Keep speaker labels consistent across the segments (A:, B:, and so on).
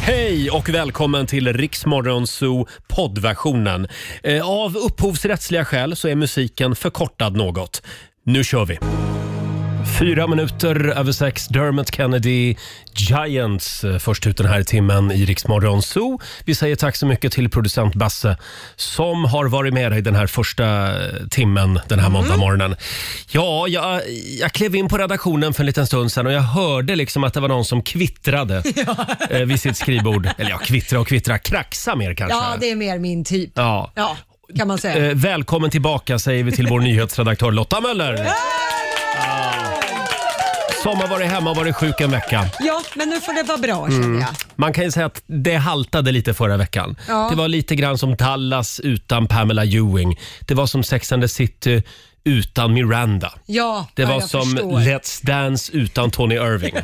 A: Hej och välkommen till Riksmorgon Zoo poddversionen. Eh, Av upphovsrättsliga skäl så är musiken förkortad något. Nu kör vi! Fyra minuter över sex, Dermot Kennedy, Giants, eh, först ut den här timmen i Riksmorgon Zoo. Vi säger tack så mycket till producent Basse som har varit med dig den här första eh, timmen den här måndagmorgonen. Ja, jag, jag klev in på redaktionen för en liten stund sedan och jag hörde liksom att det var någon som kvittrade eh, vid sitt skrivbord. Eller ja, kvittra och kvittra, kraxa mer kanske.
B: Ja, det är mer min typ.
A: Ja.
B: Ja, kan man säga.
A: Eh, välkommen tillbaka säger vi till vår nyhetsredaktör Lotta Möller. Ja. Som har varit hemma och varit sjuk en vecka.
B: Ja, men nu får det vara bra
A: Mm.
B: känner jag.
A: Man kan ju säga att det haltade lite förra veckan.
B: Ja.
A: Det var lite grann som Dallas utan Pamela Ewing. Det var som Sex and the City utan Miranda.
B: Ja,
A: Det
B: ja,
A: var
B: jag
A: som
B: förstår.
A: Let's Dance utan Tony Irving.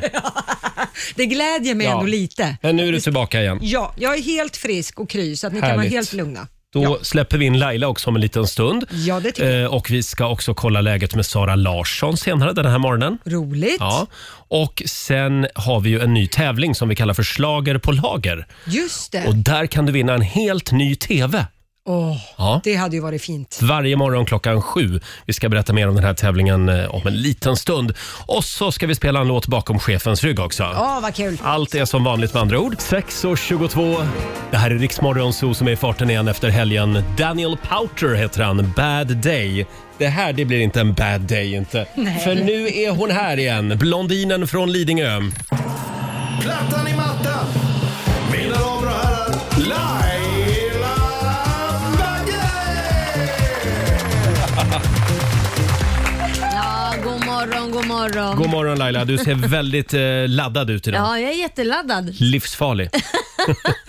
B: Det glädjer mig
A: Ja.
B: ändå lite.
A: Men nu är du tillbaka igen.
B: Ja, jag är helt frisk och kry så att ni kan vara
A: Härligt.
B: helt lugna.
A: Då släpper vi in Laila också om en liten stund.
B: Ja, det tycker jag.
A: Eh, Och vi ska också kolla läget med Sara Larsson senare den här morgonen.
B: Roligt.
A: Ja, och sen har vi ju en ny tävling som vi kallar för Slager på lager.
B: Just det.
A: Och där kan du vinna en helt ny TV.
B: Åh,
A: Ja.
B: Det hade ju varit fint.
A: Varje morgon klockan sju. Vi ska berätta mer om den här tävlingen eh, om en liten stund. Och så ska vi spela en låt bakom chefens rygg också.
B: Ja, vad kul.
A: Allt är som vanligt med andra ord. 6.22. Det här är Riksmorgon Zoo som är i farten igen efter helgen. Daniel Powter heter han. Bad Day. Det här det blir inte en bad day inte.
B: Nej.
A: För nu är hon här igen. Blondinen från Lidingö.
C: Plattan i mattan. Mina damer och herrar, Laila Bagge!
D: Ja, god morgon, god morgon.
A: God morgon Laila, du ser väldigt eh, laddad ut idag.
D: ja, jag är jätteladdad.
A: Livsfarlig.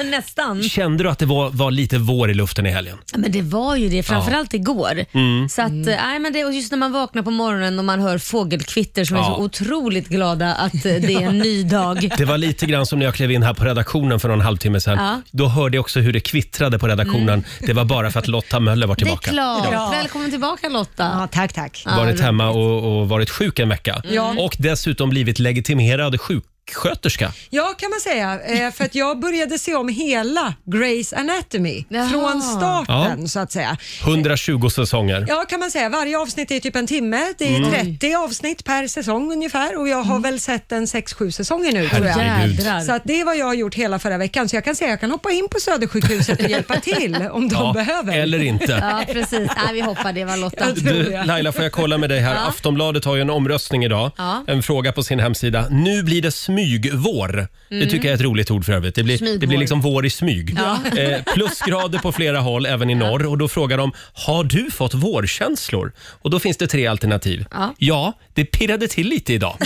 D: Nästan.
A: Kände du att det var, var lite vår i luften i helgen?
D: Men det var ju det, framförallt
A: Mm.
D: igår. Så att, eh, nej, men det, och just när man vaknar på morgonen och man hör fågelkvitter som är
A: Ja.
D: så otroligt glada att eh, det är en ny dag.
A: Det var lite grann som när jag klev in här på redaktionen för någon halvtimme sedan.
D: Ja. Mm.
A: Då hörde jag också hur det kvittrade på redaktionen. Det var bara för att Lotta Möller var
D: Det är
A: tillbaka.
D: klart.
B: Ja.
D: Välkommen tillbaka Lotta.
B: Ja, tack, tack.
D: Ja,
A: Varit
D: roligt.
A: hemma och, och varit sjuk en vecka.
B: Ja.
A: Och dessutom blivit legitimerad sjuksköterska.
B: Ja, kan man säga. Eh, För att jag började se om hela Grey's Anatomy
D: Jaha.
B: från starten
A: Ja.
B: så att säga.
A: 120 säsonger.
B: Ja, kan man säga. Varje avsnitt är typ en timme. Det är
A: Mm.
B: 30 avsnitt per säsong ungefär och jag har väl sett en 6-7 säsonger nu tror jag.
A: Herregud.
D: Jädrar.
B: Så att det är vad jag har gjort hela förra veckan. Så jag kan säga att jag kan hoppa in på Södersjukhuset och hjälpa till om de
A: Ja,
B: behöver.
A: Eller inte.
D: Ja, precis. Nej, vi hoppar det var Lotta.
B: Jag tror-
A: Du, Laila, får jag kolla med dig här? Aftonbladet har ju en omröstning idag.
D: Ja.
A: En fråga på sin hemsida. Nu blir det smygvår. Det tycker jag är ett roligt ord för övrigt. Det blir, det blir
D: Smygvår.
A: liksom vår i smyg. Eh, plusgrader på flera håll, även i norr. Och då frågar de, har du fått vårkänslor? Och då finns det tre alternativ.
D: Ja.
A: det pirrade till lite idag.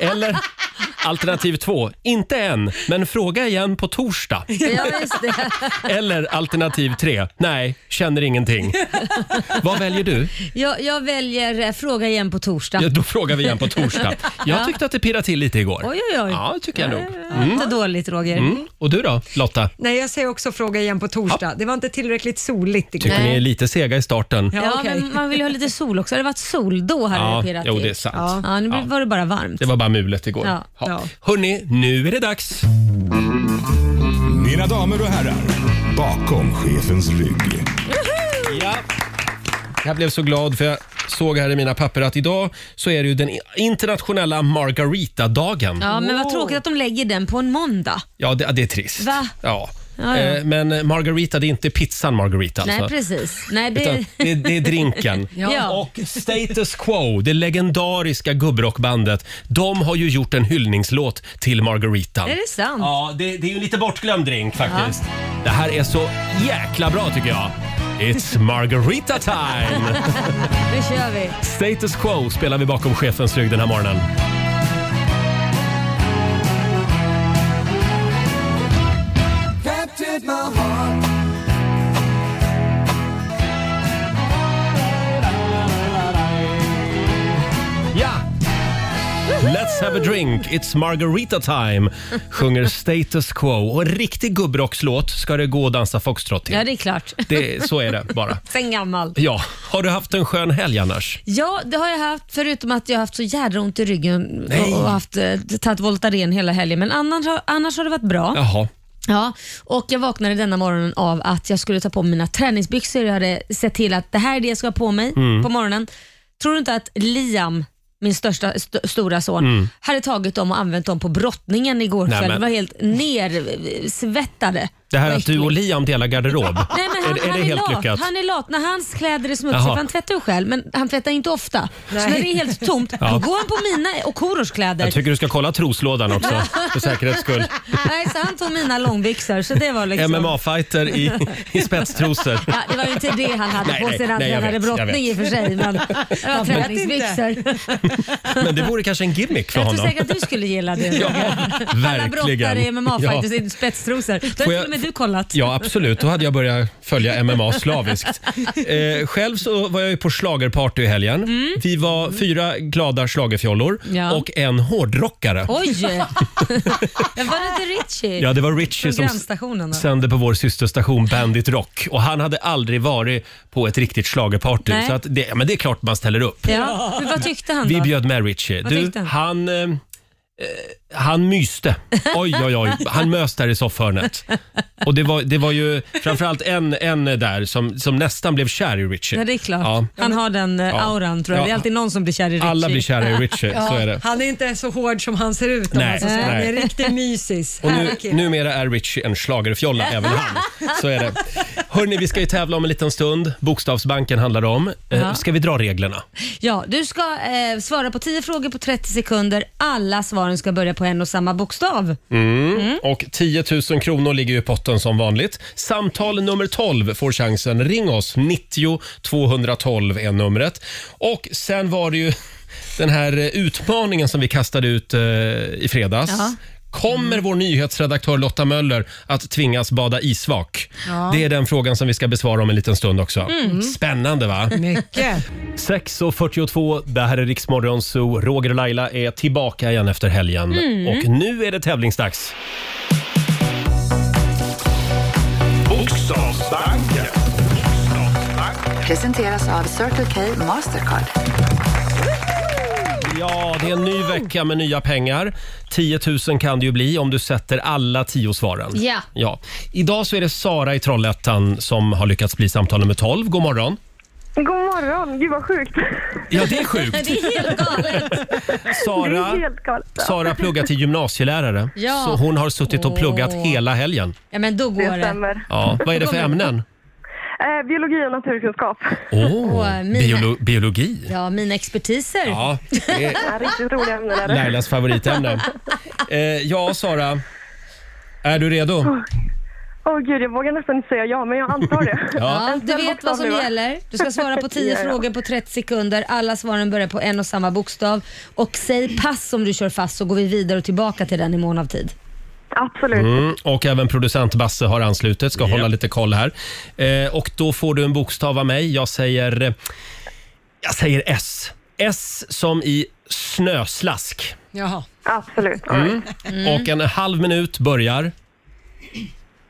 A: Eller alternativ två, inte än, men fråga igen på torsdag.
D: Ja, just det.
A: Eller alternativ tre, nej, känner ingenting. Vad väljer du?
D: Jag, jag väljer eh, fråga igen på torsdag.
A: Ja, då frågar vi igen på torsdag. Jag tyckte att det pirrade till lite igår.
D: Oj, oj, oj.
A: Ja, det tycker jag nog.
D: Ja, Inte dåligt Roger.
A: Mm. Och du då, Lotta?
B: Nej, jag säger också fråga igen på torsdag. Det var inte tillräckligt soligt igår.
A: Tycker ni är lite sega i starten?
B: Ja,
D: Ja,
B: okej.
D: men man vill ju ha lite sol också. Hade det varit sol då hade det pirrat
A: jo,
D: till.
A: det är sant.
B: Ja.
D: Ja, nu var det bara varmt.
A: Det var bara mulet igår.
D: Ja.
B: Ja.
A: Hörni, nu är det dags.
C: Mina damer och herrar, bakom chefens rygg.
A: Ja. Jag blev så glad för jag såg här i mina papper att idag så är det ju den internationella Margarita-dagen. Ja,
D: Ja, men vad tråkigt att de lägger den på en måndag.
A: det, det är trist.
D: Va?
A: Ja.
D: Ja, ja.
A: Eh, Men Margarita, det är inte pizzan Margarita alltså.
D: Nej, precis. Nej,
A: Utan
D: det...
A: det, det är drinken.
D: Ja.
A: Och Status Quo, det legendariska gubbrockbandet, de har ju gjort en hyllningslåt till Margarita.
D: Är det sant?
A: Ja, det, det är ju lite bortglömd drink faktiskt. Det här är så jäkla bra tycker jag. It's Margarita time!
D: Nu kör vi.
A: Status Quo spelar vi bakom chefens rygg den här morgonen. Ja! Let's have a drink, it's margarita time, sjunger Status Quo. Och en riktig gubbrockslåt ska det gå att dansa foxtrot till.
D: Ja, det är klart.
A: det, så är det bara.
D: Sen gammal.
A: Ja, har du haft en skön helg annars?
D: Ja, det har jag haft förutom att jag har haft så jädra ont i ryggen
A: Nej.
D: och, och haft, eh, tagit Voltaren hela helgen. Men annan, har- annars har det varit bra.
A: Jaha.
D: Ja, och jag vaknade denna morgonen av att jag skulle ta på mig mina träningsbyxor. Jag hade sett till att det här är det jag ska ha på mig
E: Mm.
D: på morgonen. Tror du inte att Liam, min största st- stora son,
E: Mm.
D: hade tagit dem och använt dem på brottningen igår
A: Nej,
D: kväll?
A: men-
D: De var helt nersvettade.
A: Det här att du och Liam delar garderob,
D: Nej, men han,
A: är, är
D: han
A: det helt
D: lat.
A: lyckat?
D: Han är lat. När hans kläder är smutsiga,
A: Jaha.
D: för han tvättar ju själv, men han tvättar inte ofta.
B: Nej.
D: Så när det är helt tomt,
A: Ja.
D: då går han på mina och Korosh kläder.
A: Jag tycker du ska kolla troslådan också för säkerhets skull.
D: Nej, så han tog mina långbyxor, så det var liksom...
A: MMA-fighter i, i spetstrosor.
D: Ja, det var ju inte det han hade
A: Nej,
D: på
A: nej,
D: sig när han
A: nej, jag
D: tränade
A: vet, jag
D: brottning i och för sig. Men det var
B: Man vet
D: träningsbyxor.
A: Men det vore kanske en gimmick för
D: Jag tror
A: honom.
D: säkert att du skulle gilla det.
A: Ja,
D: Alla
A: verkligen.
D: brottare i MMA-fighters
A: Ja.
D: i spetstrosor. Då har
A: Får jag-
D: till och med du kollat.
A: Ja, absolut. Då hade jag börjat följa MMA slaviskt. Eh, själv så var jag ju på schlagerparty i helgen. Vi var fyra glada schlagerfjollor
D: Mm. Ja.
A: och en hårdrockare.
D: Oj! Men var det inte Richie?
A: Ja, det var Richie som
D: Programstationen. va?
A: sände på vår systerstation Bandit Rock. Och han hade aldrig varit på ett riktigt schlagerparty.
D: Nej.
A: Så att det, ja, men det är klart man ställer upp.
D: Ja. Men vad tyckte han då?
A: Vi bjöd med Richie.
D: Vad
A: Du,
D: tyckte
A: han, eh, eh, han myste. Oj, oj, oj. Han mös där i soffhörnet. Och det var, det var ju framförallt en, en där som, som nästan blev kär i Richie.
D: Ja, det är klart.
A: Ja.
D: Han har den eh,
A: Ja.
D: auran tror jag. Det är
A: Ja.
D: alltid någon som blir kär i Richie.
A: Alla blir kära i Richie, så är det.
B: Han är inte så hård som han ser ut. Om
A: Nej,
B: man ska säga. Han
A: nej.
B: är en riktig mysis.
A: Och nu,
B: Härlig kille.
A: numera är Richie en schlagerfjolla, även han. Så är det. Hörni, vi ska ju tävla om en liten stund. Bokstavsbanken handlar det om. Eh,
D: Ja.
A: Ska vi dra reglerna?
D: Ja, du ska eh, svara på 10 frågor på 30 sekunder. Alla svaren ska börja på en och samma bokstav.
A: Mm. Och 10 000 kronor ligger ju i potten som vanligt. Samtal nummer 12 får chansen. Ring oss. 90 212 är numret. Och sen var det ju den här eh, utmaningen som vi kastade ut eh, i fredags.
F: Ja.
A: Kommer vår nyhetsredaktör Lotta Möller att tvingas bada isvak?
F: Ja.
A: Det är den frågan som vi ska besvara om en liten stund också.
F: Mm.
A: Spännande va?
B: Mycket.
A: 6.42, det här är Riksmorgon Zoo. Roger och Laila är tillbaka igen efter helgen.
F: Mm.
A: Och nu är det tävlingsdags.
C: Bokstavsbanken.
G: Presenteras av Circle K Mastercard.
A: Ja, det är en ny vecka med nya pengar. 10 000 kan det ju bli om du sätter alla tio svaren.
D: Ja.
A: ja. Idag så är det Sara i Trollhättan som har lyckats bli samtal nummer 12. God morgon.
H: God morgon, gud vad sjukt.
A: Ja, det är sjukt.
D: Det är helt galet.
A: Sara-
H: Det är helt galet.
A: Sara pluggar till gymnasielärare,
D: Ja.
A: så hon har suttit och pluggat
D: Åh.
A: hela helgen.
D: Ja, men då går det.
H: stämmer.
A: Ja, vad är det för ämnen?
H: Eh, biologi och naturkunskap.
A: Åh,
D: Åh, mina-
A: biolo biologi.
D: Ja, mina expertiser.
A: Ja, det är
H: Ja, riktigt roliga ämnen är det.
A: Lailas favoritämne. Eh, ja, Sara. Är du redo?
H: Åh gud, jag vågar nästan inte säga ja, men jag antar det.
A: Ja.
H: En
D: Du
H: snäll
D: vet
H: bokstav
D: vad som
H: nu, va?
D: gäller. Du ska svara på 10
H: Ja, ja.
D: frågor på 30 sekunder. Alla svaren börjar på en och samma bokstav. Och säg pass om du kör fast så går vi vidare och tillbaka till den i mån av tid.
H: Absolut.
A: Mm, och även producent Basse har anslutit, ska hålla lite koll här. Eh, och då får du en bokstav av mig. Jag säger, eh, jag säger S. S som i snöslask.
B: Jaha.
H: Absolut.
A: Mm. Och en halv minut börjar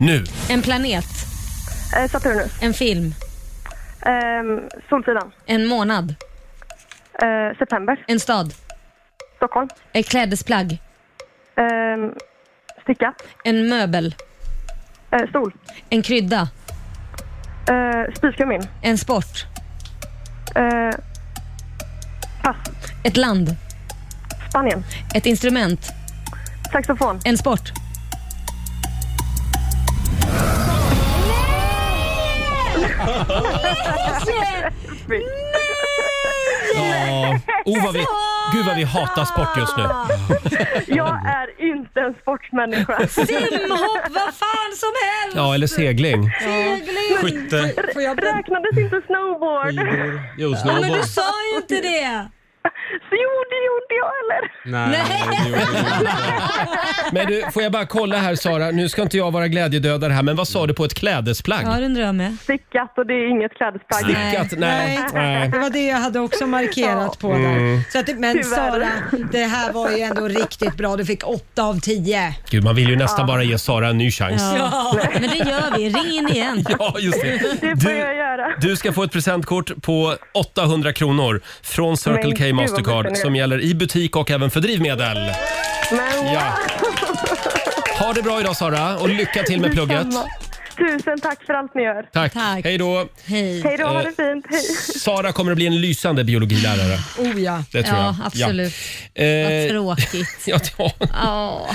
A: nu.
D: En planet.
H: Eh, Saturnus.
D: En film.
H: Ehm, Solsidan.
D: En månad.
H: Eh, september.
D: En stad.
H: Stockholm.
D: Ett klädesplagg.
H: Ehm, sticka.
D: En möbel.
H: Eh, stol.
D: En krydda.
H: Eh, Spiskummin.
D: En sport.
H: Eh,
D: Ett land.
H: Spanien.
D: Ett instrument.
H: Saxofon.
D: En sport.
A: Ja. Oh, vad vi, gud vad vi hatar sport just nu.
H: Jag är inte en sportsmänniska.
D: Simhopp, vad fan som helst!
A: Ja, eller segling.
D: Segling!
A: Skytte.
B: Får jag berätta?
H: Räknades inte snowboard?
A: Jo,
D: Ja, men
A: snowboard.
D: du sa ju inte det!
H: Så jo, det gjorde jag eller?
A: Nej. Men du, får jag bara kolla här Sara, nu ska inte jag vara glädjedödare här, men vad sa du på ett klädesplagg?
D: Ja, det undrar jag med.
H: Stickat och det är inget klädesplagg.
A: Stickat? Nej. Nej.
B: Det var det jag hade också markerat på
A: Mm.
B: där. Så att, men
H: Tyvärr.
B: Sara, det här var ju ändå riktigt bra. Du fick 8 av 10.
A: Gud, man vill ju nästan bara ge Sara en ny chans.
D: Ja. Men det gör vi. Ring in igen.
A: Ja, just det.
H: Det får jag
A: Du,
H: göra.
A: du ska få ett presentkort på 800 kronor från Circle
H: Men
A: K
H: gud, vad
A: Mastercard som gäller i butik och även för drivmedel.
H: Men
A: Ja. Ha det bra idag Sara och lycka till med plugget.
H: detsamma. Tusen tack för allt ni gör.
A: Tack.
D: Tack.
A: Hej då.
D: Hej.
H: Hej då, ha
A: Eh,
H: det fint. Hej.
A: Sara kommer att bli en lysande biologilärare.
B: Oh ja.
A: Det tror
D: Ja,
A: jag.
D: absolut.
A: Ja.
D: Vad
A: Eh,
D: tråkigt.
A: ja, ja.
D: Ja.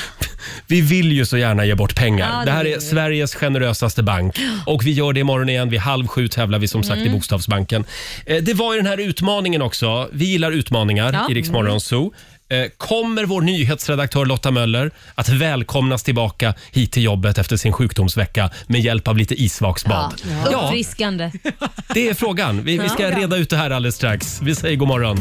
A: Vi vill ju så gärna ge bort pengar.
D: Ja, det
A: det här
D: vill
A: är
D: vi.
A: Sveriges generösaste bank. Och vi gör det imorgon igen. Vid halv sju tävlar vi som sagt
D: Mm.
A: i Bokstavsbanken. Eh, det var ju den här utmaningen också. Vi gillar utmaningar
D: Ja.
A: i Rix
B: Mm.
A: Morgon Zoo. Eh, kommer vår nyhetsredaktör Lotta Möller att välkomnas tillbaka hit till jobbet efter sin sjukdomsvecka med hjälp av lite isvaksbad? Ja,
D: Uppfriskande.
A: det är frågan. Vi, vi ska reda ut det här alldeles strax. Vi säger god morgon.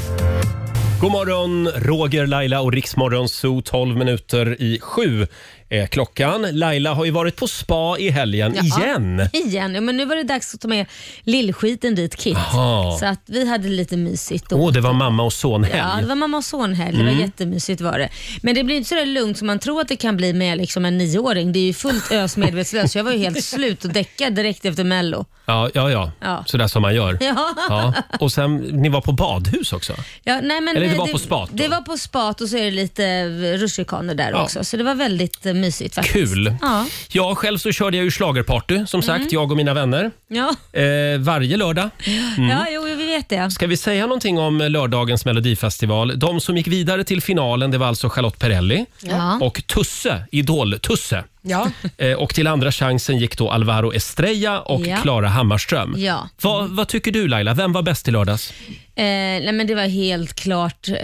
A: God morgon, Roger, Laila och Riksmorgon Zoo. 12 minuter i sju är klockan. Laila har ju varit på spa i helgen
D: Ja.
A: igen.
D: Igen. Ja, men nu var det dags att ta med lillskiten dit, Kit.
A: Jaha.
D: Så att vi hade lite mysigt då.
A: Åh, det var Mm. mamma och sonhelg.
D: Ja, det var mamma och sonhelg. Det var jättemysigt var det. Men det blir inte så där lugnt som man tror att det kan bli med liksom en nioåring. Det är ju fullt ös medvetslös. Jag var ju helt slut och däckad direkt efter Mello.
A: Ja, ja, ja.
D: Ja.
A: Sådär som man gör.
D: Ja.
A: Ja. Och sen, ni var på badhus också.
D: Ja, nej, men
A: Eller det
D: eh,
A: var på spat då?
D: Det var på spat och så är det lite rutschkanor där
A: Ja.
D: också. Så det var väldigt eh, mysigt faktiskt.
A: Kul.
D: Ja.
A: Ja, själv så körde jag ju schlagerparty, som
D: Mm.
A: sagt, jag och mina vänner.
D: Ja.
A: Eh, varje lördag. Mm.
D: ja, jo, vi vet det.
A: Ska vi säga någonting om lördagens melodifestival? De som gick vidare till finalen det var alltså Charlotte Perrelli
D: Ja.
A: och Tusse, Idol-Tusse.
B: Ja.
A: Eh, Och till andra chansen gick då Alvaro Estrella och
D: Ja.
A: Klara Hammarström.
D: Ja.
A: Vad, vad tycker du Laila? Vem var bäst i lördags?
D: Eh, nej, men det var helt klart eh,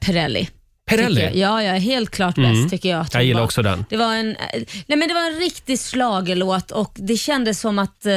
D: Perrelli.
A: Perrelli?
D: tycker jag. Ja, ja, helt klart bäst tycker jag. att
A: Mm. Jag
D: hon
A: gillar
D: var.
A: också den.
D: Det var en, eh, nej, men det var en riktig slagelåt och det kändes som att eh,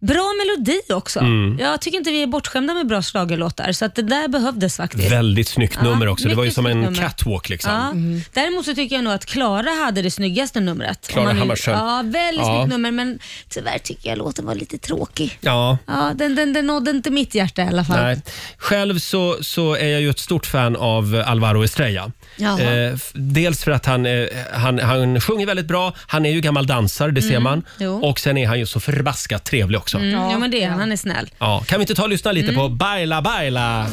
D: Bra melodi också.
A: Mm.
D: Jag tycker inte vi är bortskämda med bra slagelåtar så att det där behövdes faktiskt.
A: Väldigt snyggt
D: Ja,
A: nummer också. Det var ju
D: mycket
A: som en
D: snyggt nummer.
A: catwalk liksom.
D: Ja. Däremot så tycker jag nog att Klara hade det snyggaste numret. Om
A: Klara
D: man nu-
A: Hammarström.
D: Ja, väldigt
A: Ja.
D: snyggt nummer men tyvärr tycker jag låten var lite tråkig.
A: Ja.
D: Ja, den, den, den nådde inte mitt hjärta i alla fall.
A: Nej. Själv så, så är jag ju ett stort fan av Alvaro Estrella.
D: Jaha.
A: Eh, f- dels för att han, eh, han, han sjunger väldigt bra, han är ju gammal dansare, det ser man.
D: Mm. jo.
A: Och sen är han ju så förbaskat trevlig också.
D: Mm, ja, men Mm. det är han. Han är snäll.
A: Ja. Kan vi inte ta och lyssna lite på Baila Baila?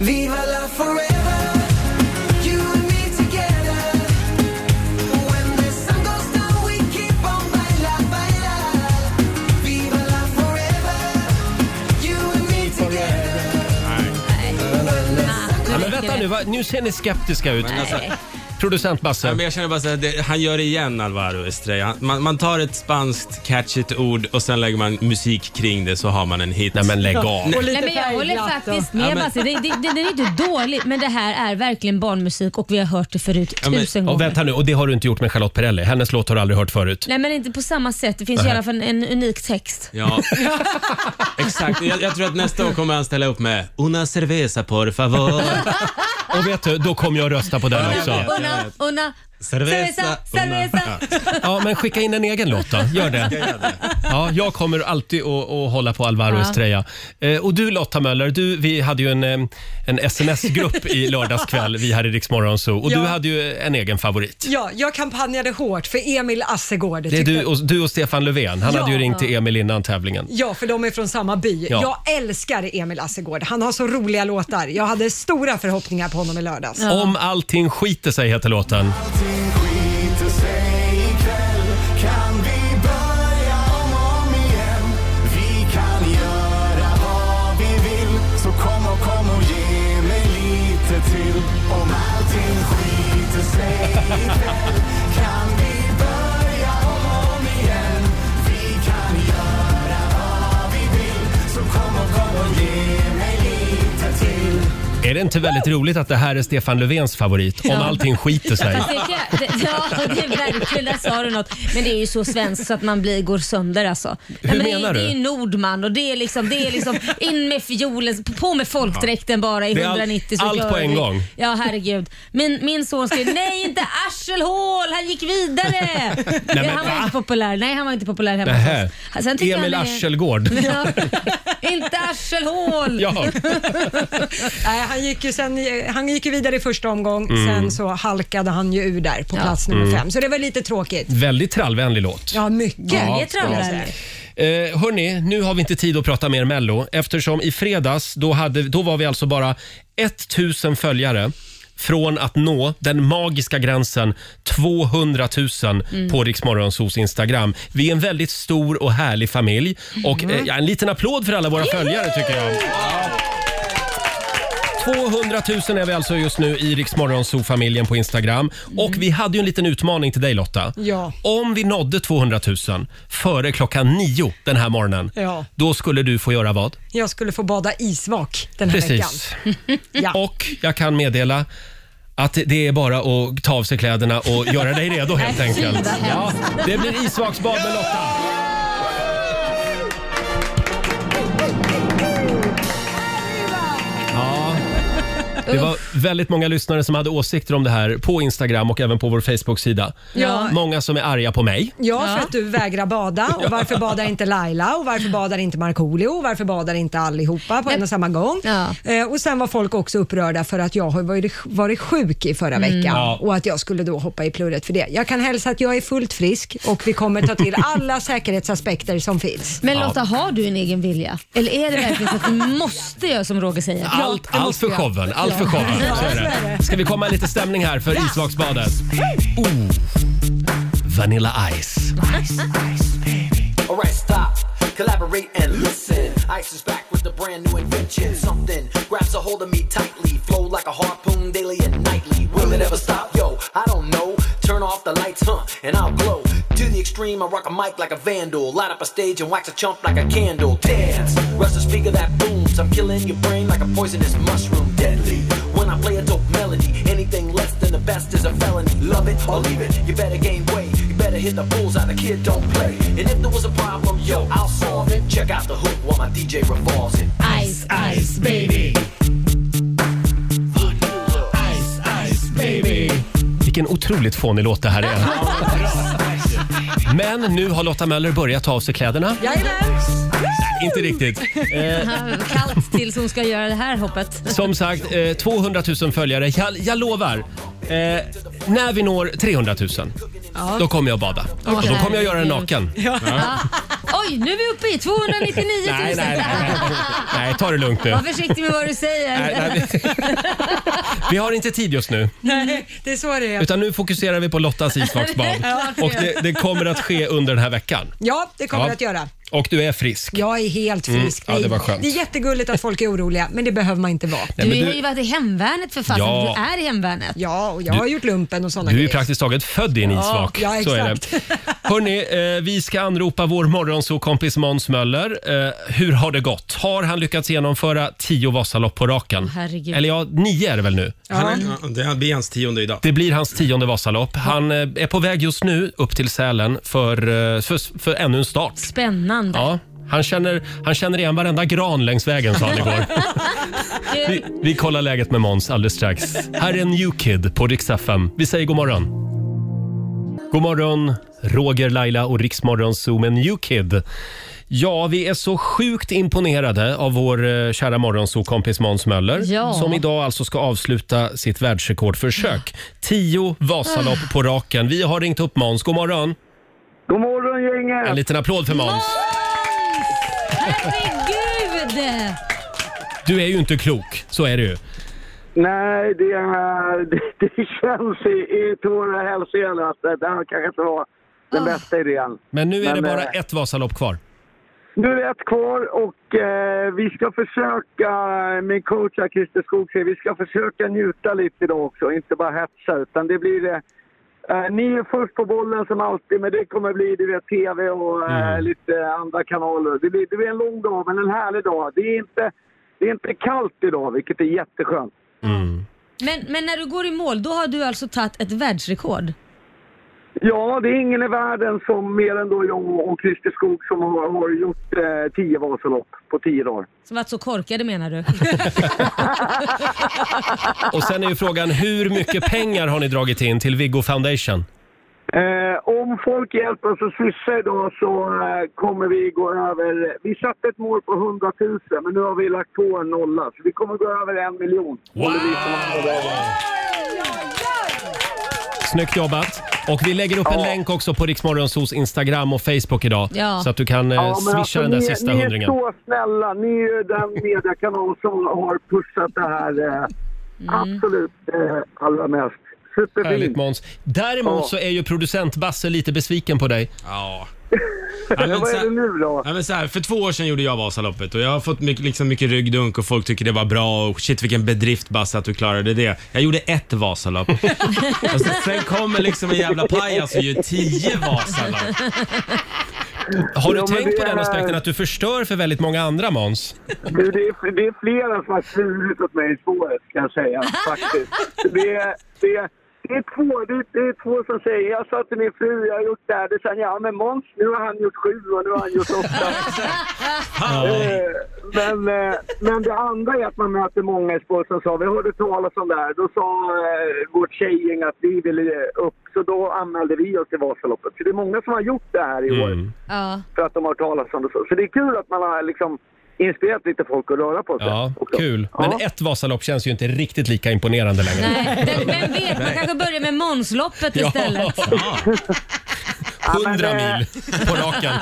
E: Viva la forever, you and me together. When the sun goes down, we keep on baila, baila. Viva la forever, you and me together.
A: Ja, men vänta nu, va? nu ser ni skeptiska ut. Alltså, Producent
F: Ja,
A: Basse.
F: men jag känner bara så här, det, han gör det igen Alvaro Estrella. Han- Man, man tar ett spanskt catchigt ord och sen lägger man musik kring det så har man en hit.
A: Nej men lägg av.
B: Och lite
D: Nej, men jag håller
B: färgglatt och-
D: faktiskt med
F: Ja, men-
D: Basse. Det, det, det, det är inte dåligt, men det här är verkligen barnmusik och vi har hört det förut
F: Ja, men-
D: tusen
A: Och
D: gånger.
A: vänta nu, och det har du inte gjort med Charlotte Perrelli. Hennes låt har du aldrig hört förut.
D: Nej, men inte på samma sätt. Det finns ju i alla fall en, en unik text.
F: Ja, exakt. Jag, jag tror att nästa år kommer han ställa upp med Una cerveza por favor.
A: Och vet du, då kommer jag att rösta på den också.
D: Una, una,
F: Cerveza,
D: cerveza, cerveza.
A: Ja, men skicka in en egen låt då. Gör det. Ja, jag kommer alltid att, att hålla på Alvaro
D: Ja.
A: Estrella. Eh, och du Lotta Möller, du, vi hade ju en, eh, en sms-grupp i lördagskväll, vi här i Rix Morgon Zoo. Och
B: Ja.
A: du hade ju en egen favorit.
B: Ja, jag kampanjade hårt för Emil Assegård.
A: Det är
B: tyckte-
A: du och, du och Stefan Löfven. Han hade ju
B: Ja.
A: ringt till Emil innan tävlingen.
B: Ja, för de är från samma by.
A: Ja.
B: Jag älskar Emil Assegård. Han har så roliga låtar. Jag hade stora förhoppningar på honom i lördags.
A: Om allting skiter sig heter låten.
E: Allting skiter sig ikväll. Kan vi börja om och om igen? Vi kan göra vad vi vill. Så kom och kom och ge mig lite till. Om allting skiter sig ikväll kan vi börja om och om igen. Vi kan göra vad vi vill. Så kom och kom och ge mig lite till.
A: Är det inte väldigt roligt att det här är Stefan Löfvens favorit? Om allting skiter sig.
D: Det kan jag- det- Ja, det är verkligen, där sa du något. Men det är ju så svenskt så att man blir, går sönder alltså.
A: Hur
D: men
A: menar
D: det,
A: du?
D: Det är ju Nordman och det är liksom, det är liksom in med fiolen, på med folkdräkten bara
A: Det
D: i
A: är all-
D: 190 så
A: allt
D: kör
A: på en
D: vi.
A: gång.
D: Ja, herregud. Min, min son skrev nej inte arselhål, han gick vidare.
A: men
D: ja, han var
A: va?
D: inte populär. Nej, han var inte populär hemma
A: Nähä.
D: hos oss. Sen tycker
A: Emil
D: han är-
A: Arselgård.
D: Ja, inte Arselhål!
A: Ja,
B: Nej, han, gick ju sen, han gick ju vidare i första omgång,
A: Mm.
B: sen så halkade han ju ur där på plats nummer fem. Så det var lite tråkigt.
A: väldigt trallvänlig låt.
B: Ja, mycket.
D: Ja,
B: skulle jag
D: trallvänlig.
B: säga.
A: Eh, hörni, nu har vi inte tid att prata mer Mello eftersom i fredags då, hade, då var vi alltså bara 1000 följare från att nå den magiska gränsen 200 000 på Riksmorgonsos Instagram. Vi är en väldigt stor och härlig familj och eh, ja, en liten applåd för alla våra följare tycker jag. 200 000 är vi alltså just nu i Riksmorgonzoo-familjen på Instagram. Och vi hade ju en liten utmaning till dig Lotta.
B: Ja.
A: Om vi nådde 200 000 före klockan nio den här morgonen,
B: Ja.
A: då skulle du få göra vad?
B: Jag skulle få bada isvak den här veckan.
A: Precis.
B: Ja.
A: Och jag kan meddela att det är bara att ta av sig kläderna och göra dig redo helt enkelt. Ja, det blir isvaksbad med Lotta. Ja, Det var väldigt många lyssnare som hade åsikter om det här på Instagram och även på vår Facebook-sida.
B: Ja.
A: Många som är arga på mig.
B: Ja, för att du vägrar bada. Och varför badar inte Laila? Och varför badar inte Markoolio? Och varför badar inte allihopa på en och samma gång?
D: Ja.
B: Eh, och sen var folk också upprörda för att jag har varit, varit sjuk i
D: Mm.
B: förra veckan
A: Ja.
B: och att jag skulle då hoppa i plurret för det. Jag kan hälsa att jag är fullt frisk och vi kommer ta till alla säkerhetsaspekter som finns.
D: Men Lotta, har du en egen vilja? Eller är det verkligen så att du måste göra som Roger säger?
A: Allt,
D: det
A: allt
D: måste
A: för
D: jag.
A: showen. Allt för showen. Så är det. Ska vi komma i lite stämning här för isvaksbadet? Oh. Vanilla Ice.
I: Alright, stop, collaborate and listen. Ice is back with a brand new invention. Something grabs a hold of me tightly, flow like a harpoon daily and nightly. Will it ever stop? Yo, I don't know. Turn off the lights, huh? And I'll glow. To the extreme, I rock a mic like a vandal. Light up a stage and wax a chump like a candle. Dance, rush the speaker that booms. I'm killing your brain like a poisonous mushroom. Deadly. When I play a dope melody, anything less than the best is a felony. Love it or leave it, you better gain weight. You better hit the bullseye, the kid don't play. And if there was a problem, yo, I'll solve it. Check out the hook while my DJ revolves it.
D: Ice, ice, baby.
A: Vilken otroligt fånig låt det här är. Men nu har Lotta Möller börjat ta av sig kläderna.
B: Jajamän!
A: Inte riktigt. Eh,
D: Kallt tills hon ska göra det här hoppet.
A: Som sagt, eh, 200 000 följare. Jag, jag lovar. Eh, när vi når 300 000, då kommer jag att bada. Och då kommer jag göra den naken.
D: Oj, nu är vi uppe i 299 000.
A: Nej, nej, nej. Nej, ta det lugnt nu.
D: Var försiktig med vad du säger.
A: Nej, nej, vi- Vi har inte tid just nu.
B: Nej, det är så det är.
A: Utan nu fokuserar vi på Lottas isvaksbad. Och det, det kommer att ske under den här veckan.
B: Ja, det kommer
A: Ja.
B: jag att göra.
A: Och du är frisk. Mm.
B: Jag är helt frisk.
A: ja, det
B: Nej,
A: var skönt.
B: det är jättegulligt att folk är oroliga, men det behöver man inte vara.
A: Nej, men
D: Du
A: du-
D: har ju varit i hemvärnet för fasen.
A: Ja.
D: Du är i hemvärnet.
B: Ja, och jag har gjort lumpen och sådana
A: Du är ju
B: grejer.
A: praktiskt taget född i en isvak.
B: ja,
A: Så är det.
B: exakt.
A: Hörrni, eh, vi ska anropa vår morgonsokompis Måns Möller. Eh, hur har det gått? Har han lyckats genomföra tio Vasalopp på raken?
D: herregud.
A: Eller ja, nio är det väl nu?
F: Han är, ja, det blir hans tionde idag.
A: Det blir hans tionde Vasalopp. Han eh, är på väg just nu upp till Sälen för, eh, för, för ännu en start.
D: Spännande.
A: Ja, han känner, han känner igen varenda gran längs vägen, sa han igår.
D: Eh,
A: Vi, vi kollar läget med Måns alldeles strax. Här är New Kid på Rix FM. Vi säger god morgon. God morgon, Roger, Laila och Riksmorgon Zoom med New Kid. Ja, vi är så sjukt imponerade av vår eh, kära morgonsokompis Måns Möller
D: Ja.
A: som idag alltså ska avsluta sitt världsrekordförsök. Tio Vasalopp på raken. Vi har ringt upp Måns. God morgon!
J: God morgon gänget!
A: En liten applåd för Måns.
D: Herregud!
A: Du är ju inte klok, så är det ju.
J: Nej, det, här, det, det känns i, i tårar och hälsenor att det där kanske inte var den bästa idén.
A: Men nu är
J: Men,
A: det bara
J: eh,
A: ett Vasalopp kvar.
J: Nu är det ett kvar och eh, vi ska försöka, min coach här, Christer Skog säger, vi ska försöka njuta lite idag också, inte bara hetsa utan det blir det. Eh, ni är först på bollen som alltid, men det kommer bli du vet, tv och eh, lite andra kanaler. Det blir, det blir en lång dag, men en härlig dag. Det är inte, det är inte kallt idag, vilket är jätteskönt.
F: Mm.
D: Men, men när du går i mål, då har du alltså tagit ett världsrekord?
J: Ja, det är ingen i världen som mer än då jag och Christer Skog som har, har gjort eh, tio Vasalopp på tio dagar.
D: Som varit så korkade menar du?
A: Och sen är ju frågan hur mycket pengar har ni dragit in till Viggo Foundation?
J: Eh, om om folk hjälper oss och Cissi idag så eh, kommer vi gå över... Vi satte ett mål på 100 000 men nu har vi lagt på en nolla så vi kommer gå över en miljon. Wow!
A: Snyggt jobbat! Och vi lägger upp en länk också på Riksmorgonsos Instagram och Facebook idag.
J: Ja. alltså,
A: Så att du kan eh, swisha den där
J: ni,
A: sista
J: ni
A: hundringen.
J: är så snälla. Ni är ju den mediekanal som har pushat det här
A: Mm.
J: eh, absolut eh, allra mest.
A: Härligt
J: Superfint.
A: Måns. Däremot
J: Ja.
A: så är ju producent Basse lite besviken på dig.
F: Ja.
J: Vad är det nu då?
F: Ja, men så här, för två år sedan gjorde jag Vasaloppet och jag har fått mycket, liksom mycket ryggdunk och folk tycker det var bra och shit vilken bedrift Basse att du klarade det. Jag gjorde ett Vasalopp. och så, sen kommer liksom en jävla pajas och gör tio Vasalopp.
A: Har du
J: Ja, men
A: tänkt på
J: det
A: den
J: är-
A: aspekten att du förstör för väldigt många andra Måns?
J: Du, det, är, det är flera som har svurit åt mig i spåret, kan jag säga. Faktiskt. Det, är- det, är- det, är två, det, är- det är två som säger, jag sa till min fru, jag har gjort det här. Det sa han, ja men Måns, nu har han gjort sju och nu har han gjort åtta. Eh, men, eh, men det andra är att man möter många i spåret som sa, vi hörde talas om det här. Då sa eh, vårt tjejgäng att vi ville ge upp, så då anmälde vi oss till Vasaloppet. Så det är många som har gjort det här i år
D: Ja.
J: för att de har hört talas om det. Så Så det är kul att man har liksom inspirerat lite folk att röra på sig.
A: Ja, kul. Men ett Vasalopp känns ju inte riktigt lika imponerande längre.
D: Nej, den, vem vet, man kanske börjar med Månsloppet
A: Ja.
D: istället.
J: men,
A: 100
J: eh,
A: mil på raken.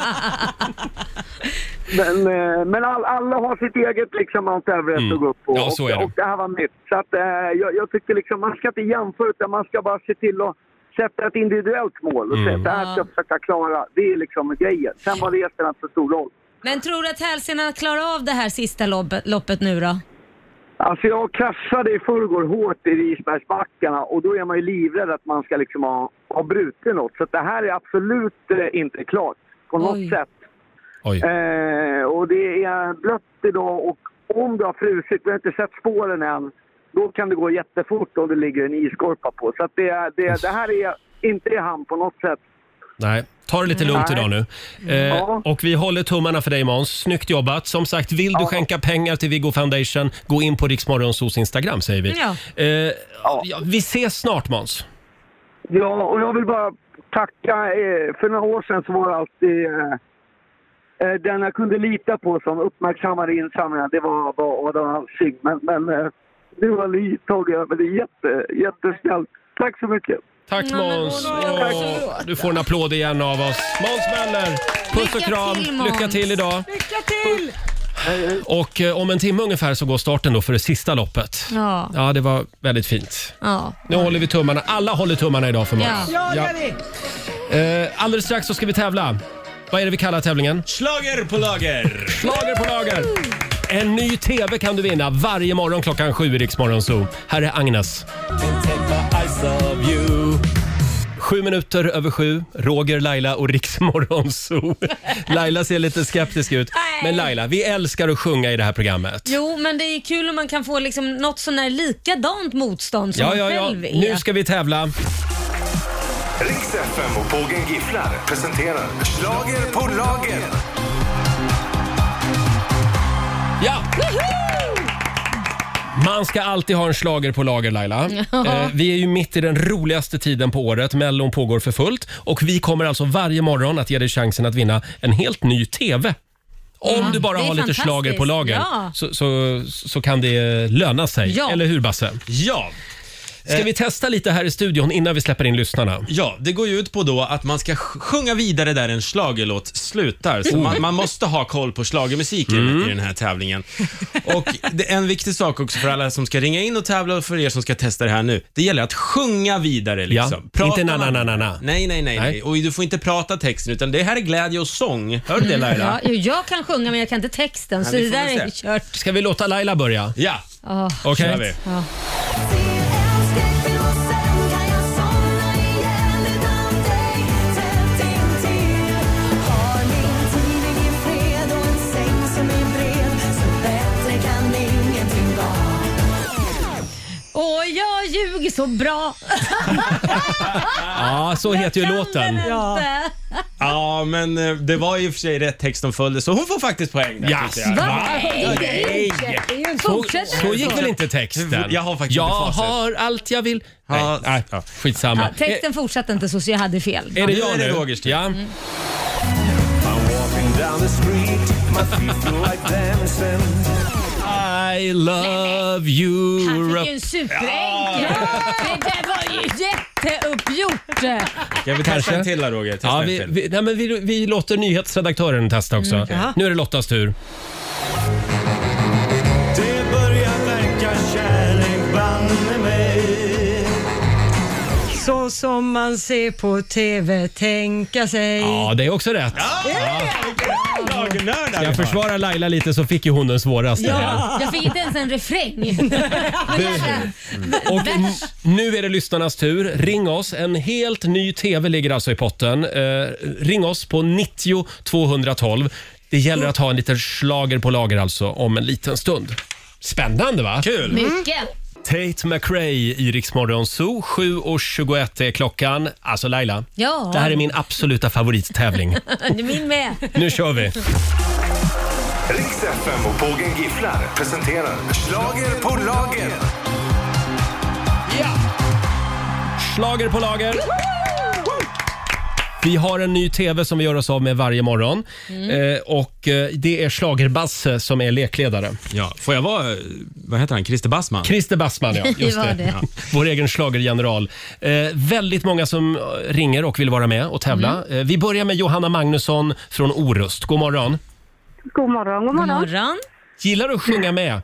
J: Men, eh, men all, alla har sitt eget liksom Mount Everest att gå upp på.
A: Mm. Ja, så är
J: och,
A: det.
J: och det här var nytt. Så att, eh, jag, jag tycker liksom man ska inte jämföra utan man ska bara se till att sätta ett individuellt mål och
A: Mm.
J: säga att det här ska jag försöka klara. Det är liksom grejen. Sen var resten inte så stor roll.
D: Men tror du att hälsenan klarar av det här sista loppet, loppet nu då?
J: Alltså jag kraschade i förrgår hårt i Risbergsbackarna och då är man ju livrädd att man ska liksom ha, ha brutit något. Så att det här är absolut eh, inte klart på något sätt.
A: Oj.
J: Eh, och det är blött idag och om du har frusit, vi har inte sett spåren än, då kan det gå jättefort om det ligger en iskorpa på. Så att det, är- det, är- det här är inte i hamn på något sätt.
A: Nej, ta det lite
D: Mm.
A: lugnt
J: Nej.
A: idag nu. Eh,
J: Ja.
A: Och vi håller tummarna för dig Måns. Snyggt jobbat. Som sagt, vill du skänka pengar till Viggo Foundation, gå in på Riksmorgonsos Instagram säger vi.
D: Ja.
A: Eh, ja, vi ses snart Måns.
J: Ja, och jag vill bara tacka. eh, För några år sedan så var det alltid eh, eh, den jag kunde lita på som uppmärksammade insamlingen. Det var, var Adam Alsing. Men, men eh, nu har ni tagit över. Det är jätte, jättesnällt. Tack så mycket.
A: Tack
D: Ja, men
A: Måns.
D: hon har ju
A: Åh,
D: också-
A: Du får en applåd igen av oss. Måns Möller, puss och
D: Lycka
A: kram.
D: till, Måns.
A: Lycka till idag.
B: Lycka till!
A: Och eh, om en timme ungefär så går starten då för det sista loppet.
D: Ja.
A: Ja, det var väldigt fint.
D: ja.
A: Nu håller vi tummarna. Alla håller tummarna idag för Måns.
D: Ja.
B: Ja, det gör vi.
A: Eh, alldeles strax så ska vi tävla. Vad är det vi kallar tävlingen?
F: Slager på lager!
A: Slager på lager! En ny TV kan du vinna varje morgon klockan sju i Rix Morgon Zoo. Här är Agnes. Sju minuter över sju, Roger, Laila och Rix Morgon Zoo. Laila ser lite skeptisk ut. Men Laila, vi älskar att sjunga i det här programmet.
D: Jo, men det är ju kul om man kan få liksom något sån här likadant motstånd som
A: Ja,
D: man
A: ja, ja.
D: själv är.
A: Nu ska vi tävla.
C: Riks FM och Pågen Gifflar presenterar Slager på lager.
A: Ja! Man ska alltid ha en slager på lager Laila.
D: Ja.
A: Eh, vi är ju mitt i den roligaste tiden på året. Mellon pågår för fullt och vi kommer alltså varje morgon att ge dig chansen att vinna en helt ny TV. Om
D: Ja,
A: du bara
D: det är
A: har lite
D: fantastiskt.
A: slager på lager
D: Ja.
A: så, så, så kan det löna sig.
D: Ja.
A: Eller hur Basse?
F: Ja.
A: Ska vi testa lite här i studion innan vi släpper in lyssnarna?
F: Ja, det går ju ut på då att man ska sj- sjunga vidare där en schlagerlåt slutar. Så
A: Oh.
F: man, man måste ha koll på schlagermusiken
A: Mm.
F: i den här tävlingen. Och det är en viktig sak också för alla som ska ringa in och tävla och för er som ska testa det här nu. Det gäller att sjunga vidare
A: Ja,
F: liksom.
A: inte na, na,
F: man-
A: na, na, na.
F: Nej, nej, nej,
A: Nej.
F: nej. Och du får inte prata texten utan det här är glädje och sång. Hör du det
D: Ja,
F: Laila?
D: jo, jag kan sjunga men jag kan inte texten så
F: vi
D: det
F: får
D: där
F: väl
D: är
F: se.
D: kört.
A: Ska vi låta Laila börja?
F: Ja,
D: Ja.
A: Okej.
F: kör vi.
D: Åh, jag ljuger så bra.
A: Ja, så heter ju
D: Kan
A: låten.
D: den
B: Ja.
D: inte?
F: Ja, men eh, det var i och för sig rätt text som följde, så hon får faktiskt poäng där.
A: Jaså?
F: tycker jag.
A: Va?
D: Nej, det är ju inte- det är ju en
A: Så,
D: fortsätt
A: så gick väl inte texten?
F: Jag har faktiskt
A: Jag
F: inte facit.
A: har allt jag vill. Nej, nej skitsamma.
D: Ja, texten fortsatte inte så, så jag hade fel.
A: Är det
F: Nu
A: jag
F: är det
A: nu?
F: Rogers tur. Mm.
A: ja. I love you.
D: Han fick ju en
A: Europe.
D: superenkel. Det där var ju jätteuppgjort.
F: Ska vi
A: Kanske.
F: testa en till där Roger? Testa
A: Ja,
F: en
A: vi,
F: till. Mm,
A: vi, nej, men vi, vi låter nyhetsredaktören testa också. Nu är det Lottas tur.
E: Det börjar verka kärlek banne mig
B: Så som man ser på TV, tänka sig.
A: Ja, det är också rätt.
F: Lagnördar vi har.
A: Jag försvarar Laila lite så fick ju hon den svåraste. här.
D: Jag fick inte ens en refräng. Men jävla-
A: Mm. Och n- nu är det lyssnarnas tur. Ring oss. En helt ny TV ligger alltså i potten. Eh, ring oss på 90 212. Det gäller att ha en liten slager på lager alltså om en liten stund. Spännande va? Kul!
D: Mycket.
A: Tate McRae i Rix Morgon Zoo. 7.21 är klockan. Alltså Laila,
D: Ja.
A: det här är min absoluta favorittävling.
D: Min med.
A: nu kör vi!
C: Riks FM och Pågen Gifflar presenterar Schlager på lager.
A: Slager på lager. Vi har en ny TV som vi gör oss av med varje morgon.
H: Mm.
A: Eh, och eh, Det är Schlagerbasse som är lekledare.
F: Ja, får jag vara, eh, vad heter han, Christer Bassman?
A: Christer Bassman, ja. Just
D: var
A: det.
D: det.
A: Ja. Vår egen schlagergeneral. Eh, väldigt många som eh, ringer och vill vara med och tävla.
H: Mm.
A: Eh, vi börjar med Johanna Magnusson från Orust. God morgon.
H: God morgon, god
D: God
H: morgon.
D: morgon.
A: Gillar du att sjunga med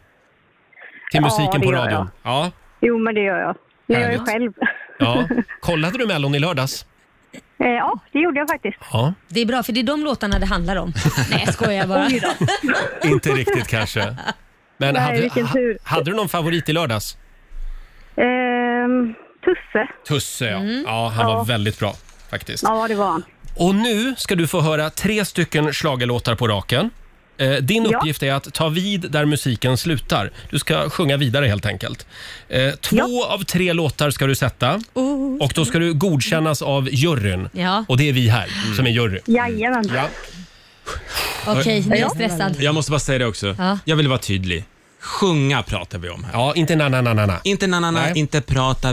A: till musiken
H: Mm. det
A: på
H: gör
A: radion? Ja.
H: Jo, men det gör jag. Det gör jag
A: Härligt.
H: själv.
A: ja. Kollade du Mellon i lördags?
H: Eh, ja, det gjorde jag faktiskt.
A: Ja.
D: Det är bra för det är de låtarna det handlar om. Nej jag skojar bara.
A: Inte riktigt kanske. Men
H: Nej,
A: hade,
H: vilken
A: ha-
H: tur.
A: hade du någon favorit i lördags?
H: Ehm, Tusse.
A: Tusse, ja. Ja, han var väldigt bra faktiskt.
H: Mm. Ja, det var han.
A: Och nu ska du få höra tre stycken schlagerlåtar på raken. Eh, din
H: Ja.
A: uppgift är att ta vid där musiken slutar. Du ska sjunga vidare helt enkelt. Eh, två av tre låtar ska du sätta och då ska du godkännas av juryn.
D: Oh. Ja.
A: Och det är vi här som är jury.
H: Jajamän.
A: Ja.
D: Okej, nu är jag stressad.
F: Jag måste bara säga det också.
D: Ja.
F: Jag vill vara tydlig. Sjunga pratar vi om här.
A: ja, inte na, na, na, na, na.
F: Inte nanana,
A: Nej.
F: inte prata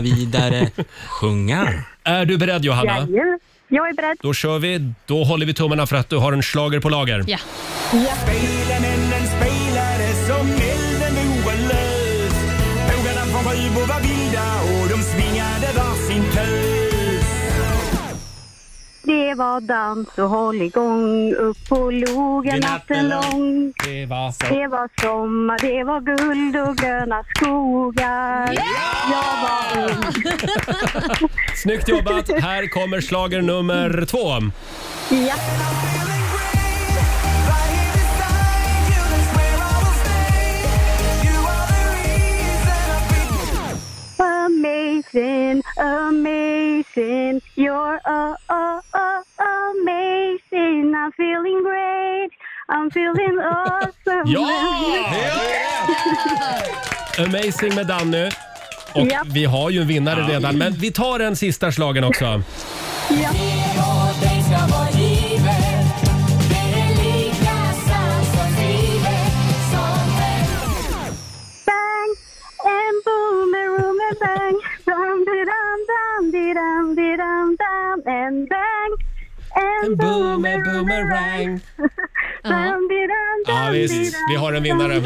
F: vidare. Sjunga.
A: Är du beredd Johanna?
H: Jajamän. Jag är beredd.
A: Då kör vi. Då håller vi tummarna för att du har en slager på lager.
D: Ja.
E: Spelaren den spelare som elden oerlös Bågarna från Sjöbo var vilda och de svingade varsin tös
H: Det var dans och håll igång upp på logen
F: Det är natten
H: natten lång.
A: Det var
H: Det var sommar, det var guld och gröna skogar. Jag var ung.
A: Snyggt jobbat. Här kommer slager nummer två.
H: Ja. Oh. Amazing, amazing, you're uh, uh, uh, amazing. I'm feeling great, I'm feeling awesome.
A: Ja! Amazing med Danny. Och
H: Japp.
A: vi har ju en vinnare redan, men vi tar den sista slagen också.
H: Bang and boom and boom and bang, dum de dum dum de dum de dum dum and bang and boom and boom and bang. Dum, di, dum,
A: Ja,
H: dum, di,
A: visst.
H: dum,
A: Vi har en vinnare.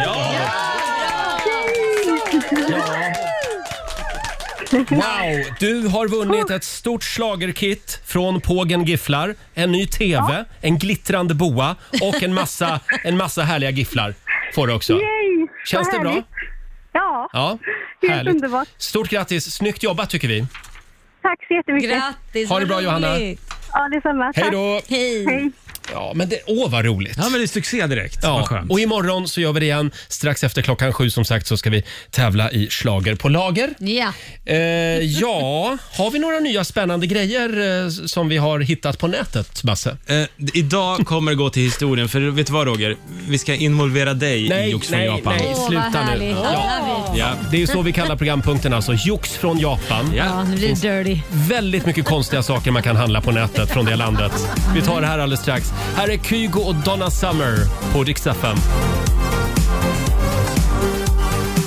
A: Wow! Du har vunnit ett stort slagerkit från Pågen Gifflar, en ny TV, en glittrande boa och en massa, en massa härliga gifflar får du också.
H: Yay,
A: Känns
H: vad
A: det bra?
H: härligt. Ja,
A: Ja,
H: helt
A: härligt.
H: underbart.
A: Stort grattis! Snyggt jobbat tycker vi.
H: Tack så jättemycket.
D: Grattis,
A: Ha det
D: vad
A: bra, Johanna.
D: roligt.
H: Ja, detsamma.
A: Hej
H: Tack.
A: då!
D: Hej.
H: Hej.
A: Ja, men det, åh vad roligt.
F: Ja, men det är succé direkt. Vad
A: Ja,
F: skönt.
A: och imorgon så gör vi det igen. Strax efter klockan sju som sagt så ska vi tävla i Schlager på lager.
D: Ja.
A: Eh, ja, har vi några nya spännande grejer eh, som vi har hittat på nätet, Basse?
F: Eh, d- idag kommer det gå till historien, för vet du vad Roger? Vi ska involvera dig i Jox från Japan.
A: nej,
D: Åh, vad
A: sluta nu.
D: härligt.
A: Ja.
D: Ja.
A: Ja, det är så vi kallar programpunkten alltså. Jox från Japan.
D: Ja, nu blir det dirty.
A: Väldigt mycket konstiga saker man kan handla på nätet från det landet. Vi tar det här alldeles strax. Här är Kygo och Donna Summer på Dix FM.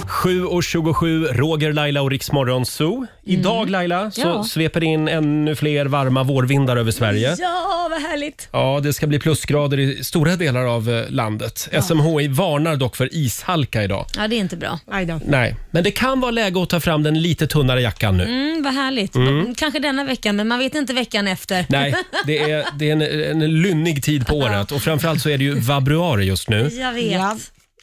A: 7.27, Roger, Laila och Riksmorgon Zoo. Idag Laila så
D: Mm. Ja.
A: sveper det in ännu fler varma vårvindar över Sverige.
D: Ja, vad härligt.
A: Ja, det ska bli plusgrader i stora delar av eh, landet. SMHI varnar dock för ishalka idag.
D: Ja, det är inte bra.
B: Aj då.
A: Nej, men det kan vara läge att ta fram den lite tunnare jackan nu.
D: Mm, vad härligt. Kanske denna veckan, men man vet inte veckan efter.
A: Nej, det är, det är en, en lynnig tid på året och framförallt så är det ju vabruari just nu.
D: Jag vet.
B: Ja.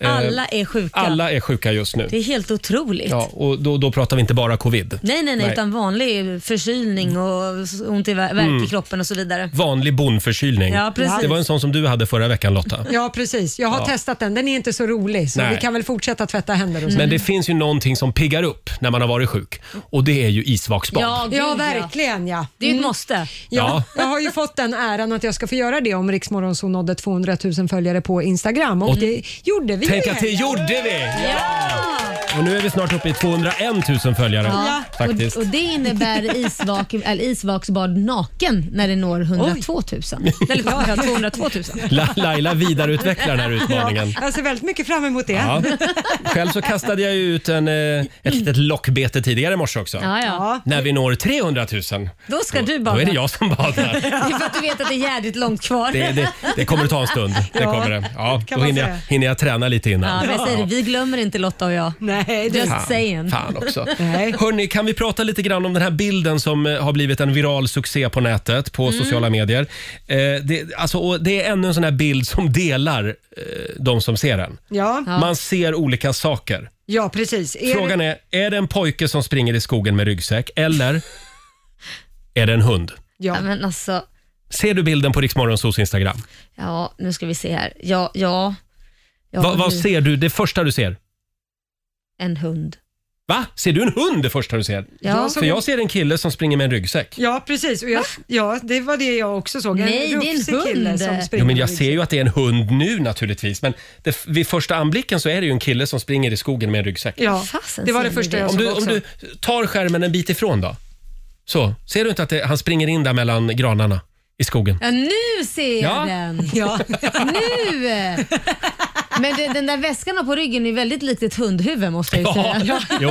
D: Alla är sjuka.
A: Alla är sjuka just nu.
D: Det är helt otroligt.
A: Ja, och då, då pratar vi inte bara covid.
D: Nej, nej, nej,
A: Nej.
D: utan vanlig förkylning och s- ont i vär- värk
A: Mm.
D: i kroppen och så vidare.
A: Vanlig bonförkylning.
D: Ja, precis.
A: Det var en sån som du hade förra veckan Lotta.
B: Ja, precis. Jag har testat den. Den är inte så rolig, så
A: Nej.
B: vi kan väl fortsätta tvätta händer och
D: Mm.
B: så.
A: Men det finns ju någonting som piggar upp när man har varit sjuk och det är ju isvaksbad.
D: Ja, gud,
B: Ja, verkligen ja. Mm.
D: Det är ju ett måste.
B: Ja,
A: Ja.
B: jag har ju fått den äran att jag ska få göra det om Riksmorgonzoo nådde 200 000 följare på Instagram och det gjorde vi
A: Tänk
B: ju
A: att det
B: igen.
A: gjorde vi!
D: Ja!
A: Och nu är vi snart uppe i 201 000 följare. Faktiskt.
K: Och, och det innebär isvak, eller isvaksbad naken när det når 102 000.
D: Eller ja, ja, 202 000.
A: La- Laila vidareutvecklar den här utmaningen.
B: Jag ser väldigt mycket fram emot det.
A: Ja. Själv så kastade jag ju ut en, eh, ett litet lockbete tidigare i morse också.
K: Ja, ja.
B: Ja.
A: När vi når 300 000,
D: Då ska du
A: då
D: bada.
A: är det jag som badar.
D: Det är för att du vet att det är jädrigt långt kvar.
A: Det, det, det kommer att ta en stund. Det
B: Ja,
A: kommer det. Ja,
B: kan
A: då
B: man
A: hinner jag,
B: säga.
A: hinner jag träna lite
D: Ja,
A: innan.
D: men jag säger det, vi glömmer inte Lotta och jag.
B: Nej, det,
D: Just saying.
A: Fan också.
B: Nej.
A: Hörni, kan vi prata lite grann om den här bilden som eh, har blivit en viral succé på nätet, på
D: Mm.
A: sociala medier. Eh, det, alltså, och det är ännu en sån här bild som delar eh, de som ser den.
B: ja.
A: Man ser olika saker.
B: ja, precis. Är
A: Frågan är, är det en pojke som springer i skogen med ryggsäck eller är det en hund?
B: Ja.
K: Ja, men alltså,
A: Ser du bilden på Riksmorgonsos Instagram?
K: ja, nu ska vi se här. Ja, ja. ja
A: Va, vad
K: nu.
A: ser du, det första du ser?
K: En hund.
A: Va? Ser du en hund det första du ser?
K: Ja.
B: Jag såg-
A: För jag ser en kille som springer med en ryggsäck.
B: Ja, precis. Och jag, ja, det var det jag också såg.
K: Nej, det är en
B: rufsig kille
K: hund.
B: Som
A: Jo, men jag ser
B: springer.
A: ju att det är en hund nu naturligtvis, men det, vid första anblicken så är det ju en kille som springer i skogen med en ryggsäck.
B: Ja,
K: Fasen,
B: det var det
K: ser ni
B: första
K: det?
B: jag
A: Om
B: såg
A: du, om
B: också.
A: du tar skärmen en bit ifrån då? Så, ser du inte att det, han springer in där mellan granarna i skogen?
K: Ja, nu ser jag
A: Ja.
K: den.
B: Ja.
K: Nu! Men det, den där väskan på ryggen är ju väldigt likt ett hundhuvud måste jag ju
A: Ja,
K: säga.
A: jo,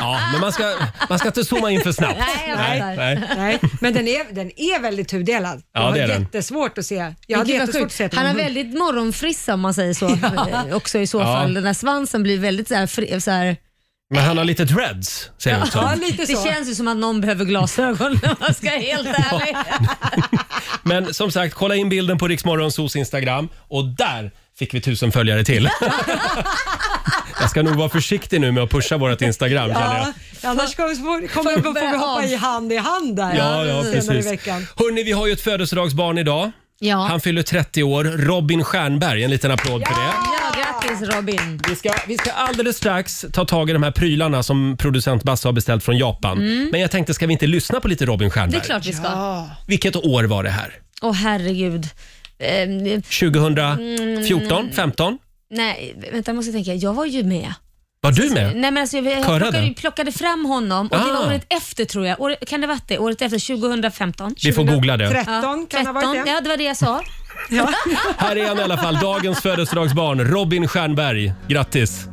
A: ja, men man ska, man ska inte zooma in för snabbt.
K: Nej, jag fattar.
A: nej.
B: Nej, men den är, den är väldigt tudelad.
A: Ja,
B: jag har
A: det är den.
B: jättesvårt att se. Jag hade
K: Gud, vad
B: jättesvårt att
K: sjukt.
B: se att det var
K: Han har
B: en hund.
K: väldigt morgonfrissa om man säger så. Eh, Också i så
A: Ja.
K: fall. Den där svansen blir väldigt så här, fri, så här.
A: Men han har lite dreads, ser det ut
B: Ja,
A: som.
B: lite
K: Det
B: så.
K: känns ju som att någon behöver glasögon om man ska vara helt ärlig.
A: Men som sagt, kolla in bilden på Riksmorgonsos Instagram och där fick vi tusen följare till. Jag ska nog vara försiktig nu med att pusha vårt Instagram känner jag.
B: Ja, annars kommer vi, kommer vi, får vi hoppa i hand i hand där
A: Ja, ja,
B: senare
A: precis.
B: i veckan.
A: Hörni, vi har ju ett födelsedagsbarn idag.
K: Ja.
A: Han fyller 30 år. Robin Stjernberg, en liten applåd för det.
K: Ja, grattis Robin.
A: Vi ska, vi ska alldeles strax ta tag i de här prylarna som producent Basse har beställt från Japan. Men jag tänkte, ska vi inte lyssna på lite Robin Stjernberg?
K: Mm. Det är klart vi ska. Åh
A: Vilket år var det här?
K: herregud. Eh, Mm.
A: 2014? 15?
K: nej, vänta jag måste tänka. Jag var ju med.
A: Var du med?
K: Nej, men alltså, jag jag
A: Körade?
K: plockade, plockade fram honom och det
A: Ah.
K: var året efter tror jag. År, kan det ha varit det? Året efter, 2015?
A: Vi får googla det.
B: 13 kan det ha varit det.
K: Ja, det var det jag sa.
A: Här är han i alla fall, dagens födelsedagsbarn, Robin Stjernberg. Grattis!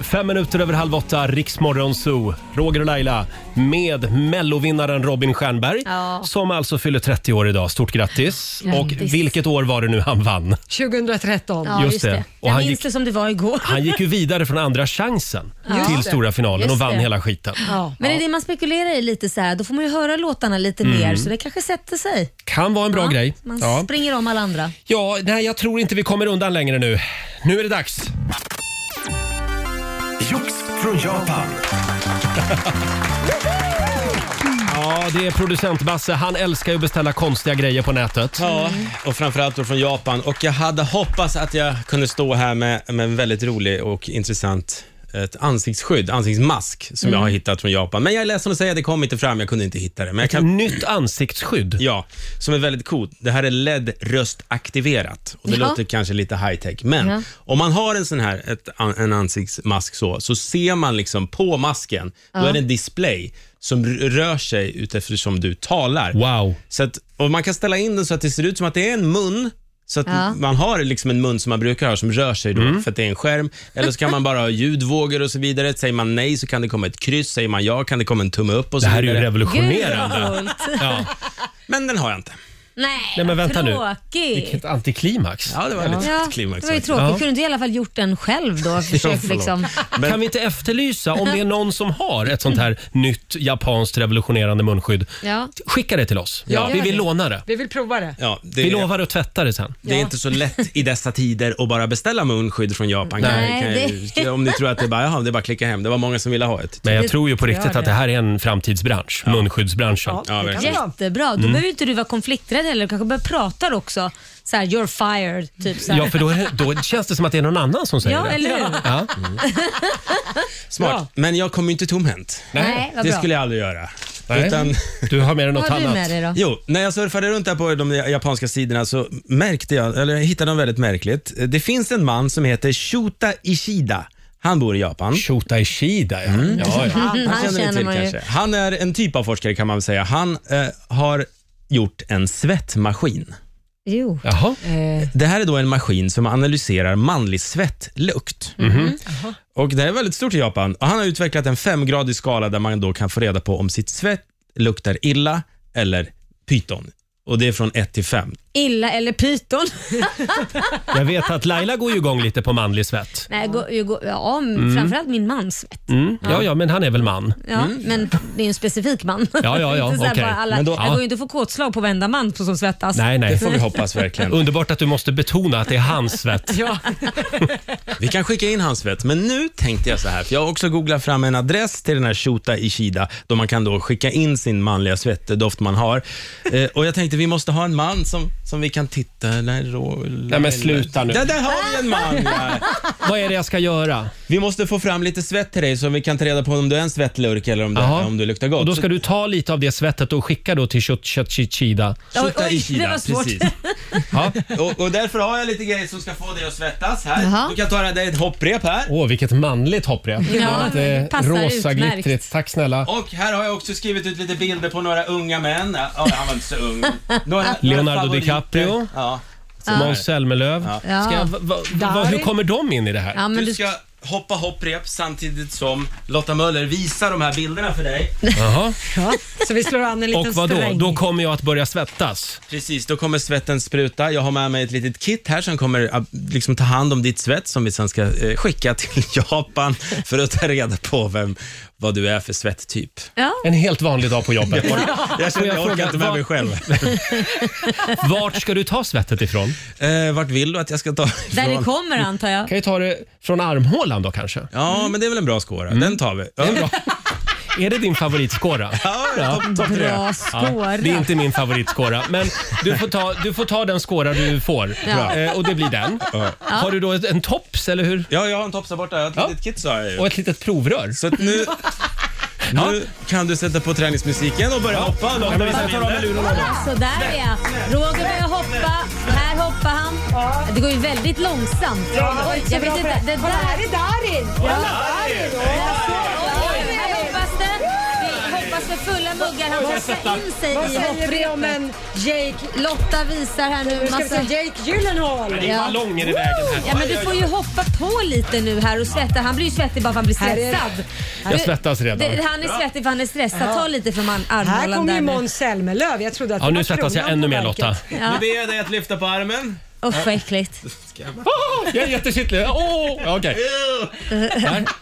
A: Fem minuter över halv åtta, Riksmorgon Zoo. Roger och Laila med mellovinnaren Robin Stjernberg
K: Ja.
A: som alltså fyller 30 år idag. Stort grattis. Och vilket år var det nu han vann?
B: 2013.
K: Ja,
A: Just
K: just,
A: det.
K: det.
A: Och
K: jag
A: han
K: minns
A: gick-
K: det som det var igår.
A: Han gick ju vidare från andra chansen till stora finalen
K: Just
A: och vann
K: det.
A: hela skiten.
B: Ja.
K: Men det är det man spekulerar i lite så här. Då får man ju höra låtarna lite mer så det kanske sätter sig.
A: Kan vara en Mm. bra
K: Ja,
A: grej.
K: Man
A: Ja.
K: springer om alla andra.
A: Ja, nej, jag tror inte vi kommer undan längre nu. Nu är det dags.
C: Jox från Japan.
A: Ja, det är producent Basse. Han älskar ju att beställa konstiga grejer på nätet.
F: Ja, och framförallt då från Japan. Och jag hade hoppats att jag kunde stå här med, med en väldigt rolig och intressant ett ansiktsskydd, ansiktsmask som
A: Mm.
F: jag har hittat från Japan. Men jag är ledsen att säga, det kom inte fram. Jag kunde inte hitta det. Men jag kan...
A: Nytt ansiktsskydd?
F: Ja, som är väldigt coolt. Det här är LED-röstaktiverat och det
A: Ja.
F: låter kanske lite high-tech. Men
A: Ja.
F: om man har en sån här ett, an- en ansiktsmask så, så ser man liksom på masken, då
A: Ja.
F: är det en display som r- rör sig ut eftersom du talar.
A: Wow.
F: Så att, och man kan ställa in den så att det ser ut som att det är en mun, så att
A: Ja.
F: man har liksom en mun som man brukar ha som rör sig då
A: Mm.
F: för att det är en skärm. Eller så kan man bara ha ljudvågor och så vidare. Säger man nej så kan det komma ett kryss, säger man ja kan det komma en tumme upp och så
A: Det här är ju
F: vidare.
A: revolutionerande.
D: Gud, vad coolt.
A: Ja.
F: Men den har jag inte.
D: Nej,
A: Nej, men vänta nu.
D: tråkigt.
A: Vilket antiklimax.
F: Ja, det var
D: Ja, det var ju tråkigt. Kunde inte i alla fall gjort den själv då? Försökt liksom.
A: Kan vi inte efterlysa om det är någon som har ett sånt här nytt japanskt revolutionerande munskydd?
B: Ja.
A: Skicka det till oss.
F: Ja.
A: Vi vill
B: Gör
A: låna det.
B: Vi vill prova det.
F: Ja, det
A: Vi
F: är-
A: lovar att tvätta det sen.
F: Det är inte så lätt i dessa tider att bara beställa munskydd från Japan. Kan-
A: Nej,
F: kan-
A: det-
F: Om ni tror att det är bara, jaha, det är bara att klicka hem. Det var många som ville ha ett.
A: Men jag tror ju på riktigt att det här är en framtidsbransch, munskyddsbranschen.
D: Jättebra. Då
A: Mm.
D: behöver inte du vara konflikträdd heller. Du kanske börjar prata också. Så här, you're fired. Typ så här.
A: Ja, för då, är- då känns det som att det är någon annan som säger
D: Ja,
A: det.
D: eller hur?
A: Ja. Mm.
F: Smart. Men jag kommer ju inte tomhänt.
A: Nej, vad
F: det
A: bra.
F: skulle jag aldrig göra.
A: Nej. Du har med dig något
F: Vad har du
A: annat.
F: med
D: dig då?
F: Jo, när jag surfade runt där på de japanska sidorna så märkte jag, eller jag hittade något väldigt märkligt. Det finns en man som heter Shota Ishida. Han bor i Japan.
A: Shota Ishida, ja.
F: ja,
A: Ja, ja.
F: Han,
A: Han
F: känner
A: känner
F: ni till
A: man ju.
F: kanske. Han är en typ av forskare kan man väl säga. Han eh, har gjort en svettmaskin.
D: Jo.
A: Jaha.
F: Det här är då en maskin som analyserar manlig svettlukt. Mhm. Och det här är väldigt stort i Japan. Och han har utvecklat en femgradig skala där man då kan få reda på om sitt svett luktar illa eller pyton. Och det är från 1 till 5.
D: Illa eller pyton.
A: Jag vet att Laila går ju igång lite på manlig svett.
D: Nej, gå, ju gå, ja,
A: Mm.
D: framförallt min mans svett.
A: Mm. Ja,
D: Ja.
A: ja, men han är väl man.
D: Ja, Men det är ju en specifik man.
A: Mm. Ja, ja, ja,
D: Inte så här
A: okej.
D: bara alla,
A: Men då-
D: jag
A: Ja.
D: går ju inte att få kåtslag på varenda man som svettas.
A: Nej, nej. Underbart att du måste betona att det är hans svett.
D: Ja.
F: Vi kan skicka in hans svett, men nu tänkte jag så här, för jag har också googlat fram en adress till den här Shota Ishida, då man kan då skicka in sin manliga svettdoft man har. Eh, och jag tänkte vi måste ha en man som, som vi kan titta... Eller, rå-
A: Nej, men sluta nu.
F: Där, där har vi en man! Ja.
A: Vad är det jag ska göra?
F: Vi måste få fram lite svett till dig så vi kan ta reda på om du är en svettlurk eller om du,
A: Jaha.
F: om du luktar gott.
A: Och då ska du ta lite av det svettet och skicka då till Shotchachichida.
F: Shota Ishida, precis.
A: Ja.
F: och, och därför har jag lite grejer som ska få dig att svettas här.
A: Jaha.
F: Äh, Du kan ta det här, det är ett hopprep här.
A: Åh, vilket manligt hopprep.
F: Ja,
A: det är
F: passar
A: rosa,
F: utmärkt.
A: glittrigt. Tack snälla.
F: Och här har jag också skrivit ut lite bilder på några unga män. Ja, han var inte så ung. Några,
A: Leonardo
F: favoriter.
A: DiCaprio.
F: Ja.
A: Ja. Måns Zelmerlöw.
F: Ja.
A: Ska jag- va- va- va- Hur kommer de in i det här?
F: du, ska hoppa hopprep samtidigt som Lotta Möller visar de här bilderna för dig.
A: Jaha.
B: Så vi slår an en liten
A: Och vad då?
B: sträng.
A: Då kommer jag att börja svettas.
F: Precis, då kommer svetten spruta. Jag har med mig ett litet kit här som kommer att liksom ta hand om ditt svett som vi sen ska eh, skicka till Japan för att ta reda på vem, vad du är för svetttyp.
A: En helt vanlig dag på jobbet.
F: Jag, jag känner
A: Och
F: jag orkar
A: frågar,
F: inte med
A: vad-
F: mig själv.
A: Vart ska du ta svettet ifrån?
F: Eh, vart vill du att jag ska ta ifrån?
D: Där det kommer Mm. antar jag.
A: Kan ju ta det från armhålan då kanske?
F: Ja, men det är väl en bra skåra.
A: Mm.
F: Den tar vi. Ja.
A: Är det din favoritskåra?
F: Ja, topp- topp tre. Bra skåra.
A: det är inte min favoritskåra, men du får ta, du får ta den skåra du får.
F: Ja.
A: Eh, och det blir den. Har du då ett- en tops, eller hur?
F: Ja, jag har en tops där borta. Jag har ett litet kit sa jag ju.
A: Och ett litet provrör.
F: Så att nu... Nu kan du sätta på träningsmusiken och börja hoppa. Lotta,
A: Ja, men vi
F: visa
A: tar av med
F: bilder.
A: luren också.
D: Så där ja. Roger börjar hoppa. Här hoppar han. Det går ju väldigt långsamt. Oj, jag vet inte. Det där...
H: är Darin!
D: Ja. Oj, här hoppas det. Vi hoppas för fulla muggar. Han kastar in sig
B: Vad
D: i
B: säger vi om en
D: hopprepet. Lotta visar här nu
B: Nu ska vi
D: massa...
B: se Jake Gyllenhaal.
A: Det är ballonger i vägen här.
D: Ja, men du får ju hoppa på lite nu här och svetta. Han blir ju svettig bara för att han blir
B: Här är-
D: stressad.
A: Jag svettas redan.
D: Det, han är svettig för han är stressad.
B: Ja.
D: Ta lite från man- armhålan
B: Här kommer
D: där
B: ju
D: nu.
B: Måns Zelmerlöw. Jag trodde att
A: Ja,
B: det
A: nu
B: var
A: svettas jag
B: kronan
A: ännu
B: på
A: mer
B: verket.
A: Lotta.
F: Nu ber jag dig att lyfta på armen.
D: Usch vad äckligt.
A: Åh, Ah, jag är jättekittlig. Åh, ja, okej.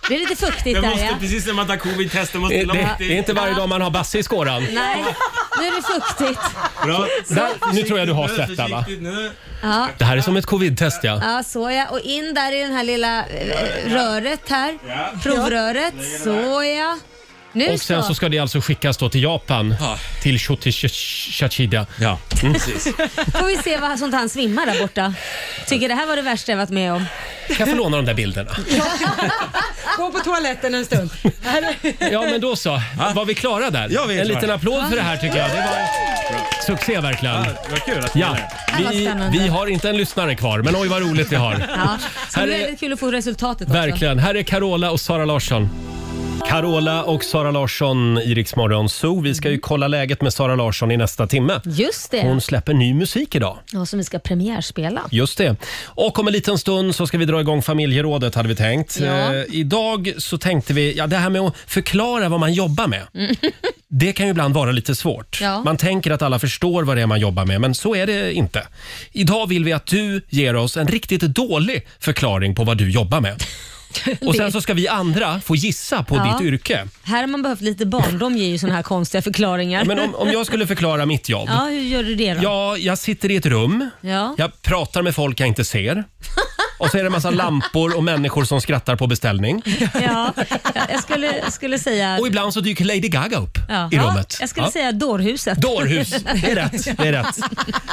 D: Det är lite fuktigt
F: Jag
D: där
F: måste,
D: ja.
F: precis när man tar covid-tester måste
A: Det,
F: långt
A: det, det är inte varje dag man har Basse i skåran.
D: Nej, nu är det fuktigt.
F: Bra.
A: Där, nu tror jag du har
F: Nu,
A: svettat va?
F: försiktigt nu.
D: Ja.
A: Det här är som ett covid-test ja.
D: Ja, så ja. Och in där i den här lilla eh, röret här. Provröret. Så ja. Nu
A: och sen
D: så.
A: så ska det alltså skickas då till Japan, till Shotichachida.
F: Ja,
A: precis.
D: Får vi se vad sånt han svimmar där borta. Tycker det här var det värsta jag varit med om.
A: Kan jag få låna de där bilderna?
B: Gå på toaletten en stund.
A: Ja, men då så. Var vi klara där?
F: Ja, vi är
A: en
F: klara.
A: liten applåd för det här tycker jag. Det var succé verkligen.
F: Ja, vad kul att ni
A: Ja.
D: det. Det
F: gillar
A: Vi,
D: var spännande.
A: vi har inte en lyssnare kvar, men oj vad roligt vi har.
D: Ja. Så
A: Här
D: det
A: är-
D: är väldigt kul att få resultatet också.
A: Verkligen. Här är Carola och Sara Larsson. Carola och Sara Larsson i Rix Morgon Zoo. Vi ska ju kolla läget med Sara Larsson i nästa timme.
D: Mm. Just det.
A: Hon släpper ny musik idag.
D: Ja, som vi ska premiärspela.
A: Just det. Och om en liten stund så ska vi dra igång familjerådet hade vi tänkt.
D: Ja.
A: Eh, idag så tänkte vi, ja det här med att förklara vad man jobbar med.
D: Mm.
A: Det kan ju ibland vara lite svårt.
E: Ja.
A: Man tänker att alla förstår vad det är man jobbar med, men så är det inte. Idag vill vi att du ger oss en riktigt dålig förklaring på vad du jobbar med. Och sen så ska vi andra få gissa på
D: Ja.
A: ditt yrke.
D: Här har man behövt lite barndom ger ju såna här konstiga förklaringar.
A: Ja, Men om, om jag skulle förklara mitt jobb.
D: Ja, hur gör du det då?
A: Ja, jag sitter i ett rum.
D: Ja.
A: Jag pratar med folk jag inte ser. Och så är det en massa lampor och människor som skrattar på beställning.
D: Ja, jag skulle, jag skulle säga...
A: Och ibland så dyker Lady Gaga upp
D: ja.
A: i rummet.
D: Ja, jag skulle
A: Ja.
D: säga dårhuset.
A: Dårhus, det är rätt. Det är rätt.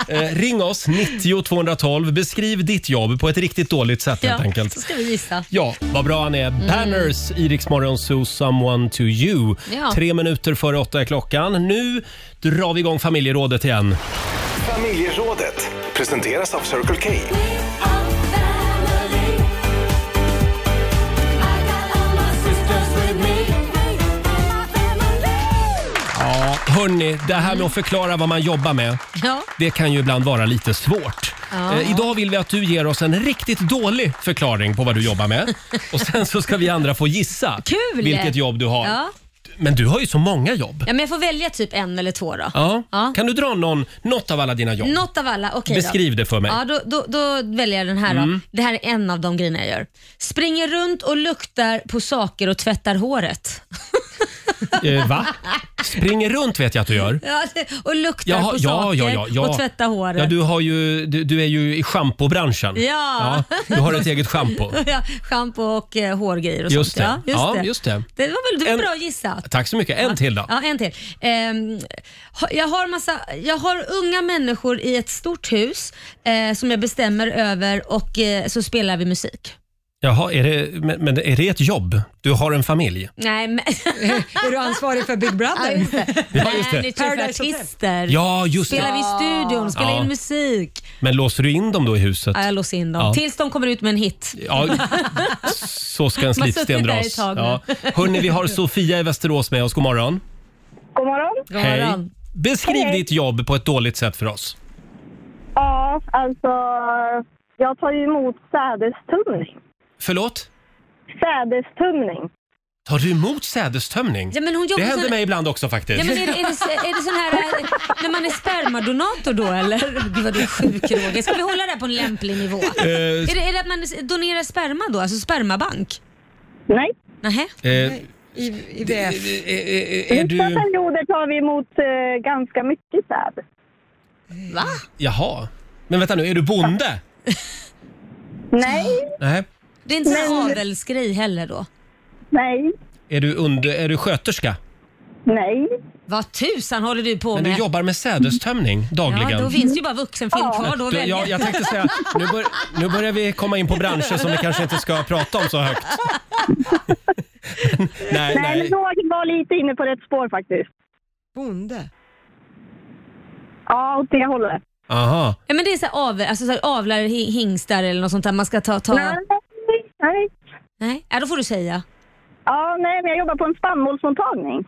A: Eh, ring oss, 90 212. Beskriv ditt jobb på ett riktigt dåligt sätt helt
D: Ja, Mm. så
A: enkelt.
D: ska vi gissa.
A: Ja, vad bra han är. Banners i Rix Morgon Zoo, Someone to you.
D: Ja.
A: Tre minuter före åtta är klockan. Nu drar vi igång familjerådet igen.
C: Familjerådet presenteras av Circle K.
A: Ja, hörni, det här med att förklara vad man jobbar med,
D: Mm. Ja.
A: det kan ju ibland vara lite svårt.
D: Ja.
A: Eh, idag vill vi att du ger oss en riktigt dålig förklaring på vad du jobbar med. Och sen så ska vi andra få gissa
D: Kul!
A: vilket jobb du har.
D: Ja.
A: Men du har ju så många jobb.
D: ja, men jag får välja typ en eller två då.
A: Ja.
D: Ja.
A: Kan du dra någon, något av alla dina jobb?
D: Något av alla, okej
A: Beskriv
D: då.
A: det för mig.
D: Ja, då, då, då väljer jag den här
A: Mm.
D: då. Det här är en av de grejerna jag gör. Springer runt och luktar på saker och tvättar håret.
A: Eh, va? Springer runt vet jag att du gör.
D: Ja, det- och luktar
A: Jaha,
D: på
A: ja,
D: saker
A: ja, ja, ja.
D: och tvättar håret.
A: Ja, du, har ju, du, du är ju i schampobranschen.
D: Ja.
A: Du har ett eget schampo.
D: Ja, schampo och eh, hårgrejer och
A: Just
D: sånt.
A: det. Ja, just det.
D: Det var väl det var
A: En-
D: bra gissat.
A: Tack så mycket. En till då.
D: Ja, en till. Ehm, ha- jag, har massa, jag har unga människor i ett stort hus eh, som jag bestämmer över och eh, så spelar vi musik.
A: Jaha, är det, men, men är det ett jobb? Du har en familj?
D: Nej, men...
B: är du ansvarig för Big Brother?
D: Ja, just det.
A: Ja, just det.
D: Manager för
B: Paradise Hotel.
D: artister.
A: Ja, just det.
D: spelar vi i studion, spelar
A: Ja.
D: in musik.
A: Men låser du in dem då i huset?
D: Ja, jag låser in dem.
A: Ja.
D: Tills de kommer ut med en hit.
A: Ja, så ska en
D: Man har
A: slipsten
D: suttit där
A: dras.
D: ett tag nu.
A: Ja. Hörni, vi har Sofia i Västerås med oss. God morgon.
H: God morgon.
A: Hej. Beskriv
H: Hej.
A: ditt jobb på ett dåligt sätt för oss.
H: Ja, alltså. Jag tar ju emot sädestumning.
A: Förlåt?
H: Sädestumning.
A: Tar du emot sädestömning?
D: Ja, men hon jobbar
A: det
D: så-
A: händer mig ibland också faktiskt.
D: Ja, men är, det- är, det, så- är det sån här eh, när man är spermadonator då eller? Gud vad du är sjuk Roger. Ska vi hålla det här på en lämplig nivå?
A: Eh,
D: Är det, är det att man donerar sperma då, alltså spermabank?
H: Nej.
D: Nähä?
A: Eh,
B: IVF.
A: är du-
H: Vissa perioder tar vi emot eh, ganska mycket säd.
D: Va?
A: Jaha. Men vänta nu, är du bonde?
H: Nej,
A: Nej.
D: Det är inte en
H: Men-
D: avelsgrej heller då?
H: nej,
A: Är du, under, är du sköterska?
H: nej.
D: Vad tusan håller du på
A: Men du
D: med?
A: jobbar med sädestömning dagligen?
D: Ja, då finns det ju bara vuxenfilm kvar då att
A: Du,
D: välja.
A: jag, jag tänkte säga, nu, bör, nu börjar vi komma in på branscher som vi kanske inte ska prata om så högt. nej,
H: Nej, men
A: nej.
H: Roger var lite inne på rätt spår faktiskt.
B: Bonde.
H: Ja, åt det hållet.
A: Aha.
D: Ja, men det är så här av, alltså så här avlar hi- hingstar eller något sånt där man ska ta... ta...
H: Nej, nej.
D: Nej, ja, då får du säga.
H: Ja, nej, men jag jobbar på en spannmålsmottagning.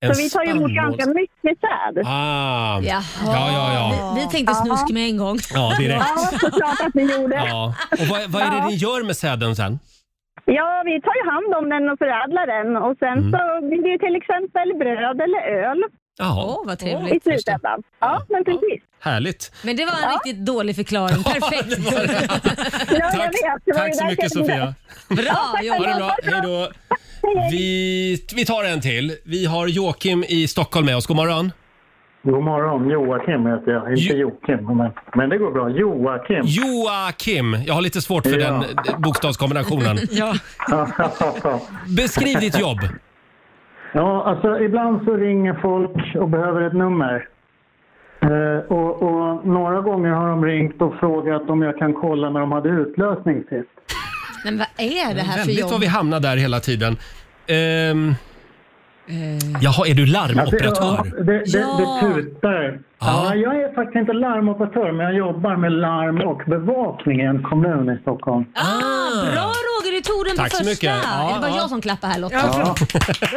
A: En
H: så vi tar ju emot
A: spannmåls-
H: ganska mycket säd.
A: Ah.
D: Jaha.
A: Ja, ja, ja.
D: Vi, vi tänkte snusk med en gång.
A: Ja, direkt.
H: Ja, såklart att ni gjorde. Ja.
A: Ja. Och vad, vad är det ni gör med säden sen?
H: vi tar ju hand om den och förädlar den och sen
A: Mm.
H: så blir det ju till exempel bröd eller öl
A: Jaha,
D: Åh, vad
H: i
D: trevligt.
H: slutändan. Ja, men precis.
A: härligt.
D: Men det var en riktigt dålig förklaring. Perfekt.
H: Ja, jag
A: Tack,
H: vet. Det var ju
A: tack så mycket
H: därför jag tänkte-
A: Sofia.
D: Bra
A: Ha det
D: jobbat.
A: bra, hej då. Vi, vi tar en till. Vi har Joakim i Stockholm med oss. God morgon.
L: God morgon, Joakim heter jag. Inte Joakim, men, men det går bra. Joakim.
A: Joakim. Jag har lite svårt för
L: Ja.
A: den bokstavskombinationen.
B: Ja.
A: Beskriv ditt jobb.
L: Ja, alltså ibland så ringer folk och behöver ett nummer. Eh, och, och några gånger har de ringt och frågat om jag kan kolla när de hade utlösning sist.
D: Men vad är det här för
A: Väldigt vad
D: jobb?
A: vi hamnar där hela tiden. Ehm,
D: Eh.
A: jaha, är du larmoperatör?
L: Alltså, Ja, Det, det,
D: Ja.
L: det tutar. Ja, jag är faktiskt inte larmoperatör, men jag jobbar med larm och bevakning i en kommun i Stockholm.
D: Ah, bra Roger, du tog den på
A: Tack så
D: första.
A: mycket. Ja,
D: är det bara
A: ja.
D: jag som klappar här Lotta?
L: Ja.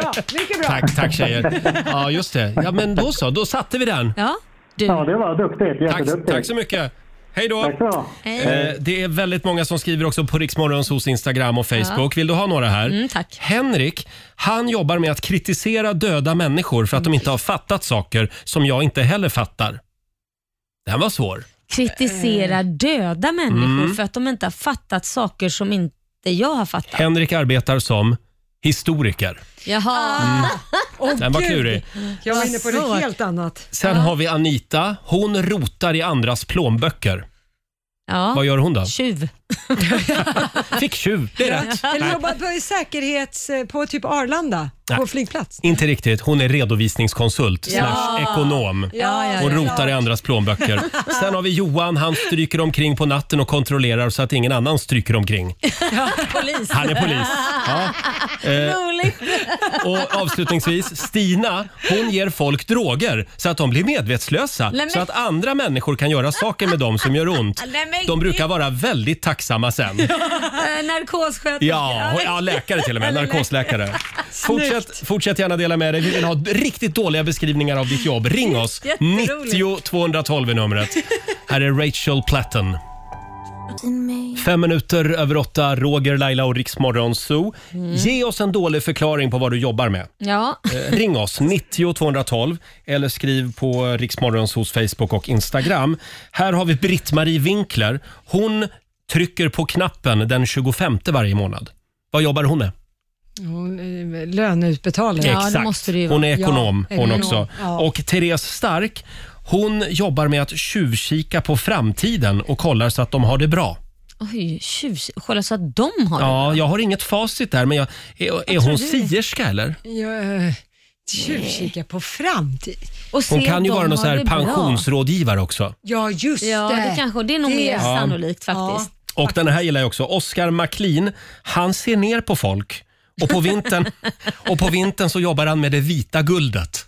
B: Bra, mycket bra.
A: Tack, tack tjejer. Ja, just det. Ja, men då så, då satte vi den.
D: Ja, du.
L: ja, det var duktigt.
A: Tack,
L: Jätteduktigt.
A: tack så mycket. Hej då!
L: Tack så.
A: Eh, det är väldigt många som skriver också på Riksmorgons hos Instagram och Facebook. Vill du ha några här?
D: Mm, tack.
A: Henrik, han jobbar med att kritisera döda människor för att de inte har fattat saker som jag inte heller fattar. Den var svår.
D: Kritisera döda människor
A: Mm.
D: för att de inte har fattat saker som inte jag har fattat.
A: Henrik arbetar som historiker.
D: Jaha.
B: Åh,
A: Mm. Den var
B: gud.
A: klurig.
B: Jag var inne på
D: Svårt.
B: något helt annat.
A: Sen har vi Anita. Hon rotar i andras plånböcker. Vad
D: Ja.
A: gör hon då?
D: Tjuv.
A: Fick tjuv. Det är rätt.
B: Eller
A: Nej,
B: jobbar på säkerhets... på typ Arlanda,
A: Nej.
B: på flygplats.
A: Inte riktigt. Hon är redovisningskonsult slash ekonom.
D: Ja, ja,
A: Hon
D: ja.
A: rotar i andras plånböcker. Sen har vi Johan. Han stryker omkring på natten och kontrollerar så att ingen annan stryker omkring.
D: Polis.
A: Han är polis. Ja. Eh,
D: Roligt.
A: och avslutningsvis, Stina hon ger folk droger så att de blir medvetslösa.
D: men-
A: Så att andra människor kan göra saker med dem som gör ont.
D: Nej, men gud.
A: De brukar vara väldigt tacksamma sen.
D: Eh, Narkossköterska.
A: Ja, och- ja läkare till och med.
D: Eller läkare.
A: Narkosläkare. Fortsätt, fortsätt gärna dela med dig. Vi vill ha riktigt dåliga beskrivningar av ditt jobb. Ring oss!
D: Jätteroligt.
A: 90 212 är numret. Här är Rachel Platten. Fem minuter över åtta, Roger, Laila och Riksmorgon Zoo.
D: Mm.
A: Ge oss en dålig förklaring på vad du jobbar med.
D: Ja.
A: Eh, Ring oss, 90 212 eller skriv på Riksmorgons hos Facebook och Instagram. Här har vi Britt-Marie Winkler. Hon trycker på knappen den 25 varje månad. Vad jobbar hon med?
B: Hon, eh, Löneutbetalare.
D: Ja. det måste det ju vara.
A: hon är ekonom
B: Ja,
A: hon
B: ekonom.
A: också.
B: Ja.
A: Och Therese Stark, hon jobbar med att tjuvkika på framtiden och kollar så att de har det bra.
D: Oj, tjus. Kolla så att de har det.
A: Ja, jag har inget facit där, men jag, är, är
D: tror
A: hon
D: du?
A: sierska eller?
B: Jag, eh, Tjuvkika på framtid.
D: Och se
A: Hon kan ju
D: att de
A: vara någon
D: har
A: sån här
D: det bra.
A: pensionsrådgivare också.
B: Ja, just
D: Ja,
B: det.
D: det kanske. Det är nog mer sannolikt
B: Ja.
D: faktiskt.
A: Och den här gillar jag också. Oscar McLean, han ser ner på folk. Och på vintern, och på vintern så jobbar han med det vita guldet.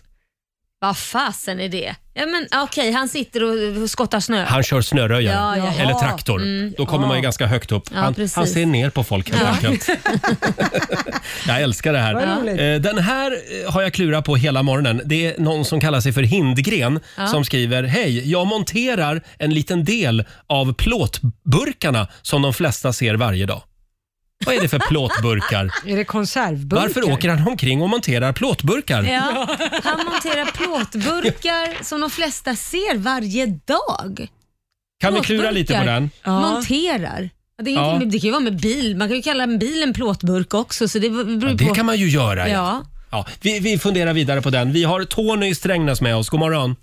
D: Vad fasen är det? Ja, men Okej, han sitter och och skottar snö.
A: Han kör snöröjare
D: Ja, jaha.
A: eller traktor. Då kommer man ju ganska högt upp.
D: Ja,
A: Han,
D: precis.
A: han ser ner på folk helt enkelt. jag älskar det
B: Vad
A: här.
B: roligt.
A: Eh, Den här eh, har jag klurat på hela morgonen. Det är någon som kallar sig för Hindgren som skriver Hej, jag monterar en liten del av plåtburkarna som de flesta ser varje dag. Vad är det för plåtburkar?
B: Är det konservburkar?
A: Varför åker han omkring och monterar plåtburkar?
D: Ja, han monterar plåtburkar som de flesta ser varje dag.
A: Kan vi klura lite på
D: Plåtburkar
A: den?
D: Monterar. Ja, Det, är
A: Ja.
D: ja. det kan ju vara med bil. Man kan ju kalla en bil en plåtburk också. Så det beror
A: Ja,
D: på.
A: det kan man ju göra.
D: Ja.
A: Ja, vi, vi funderar vidare på den. Vi har Tony i Strängnäs med oss. God morgon.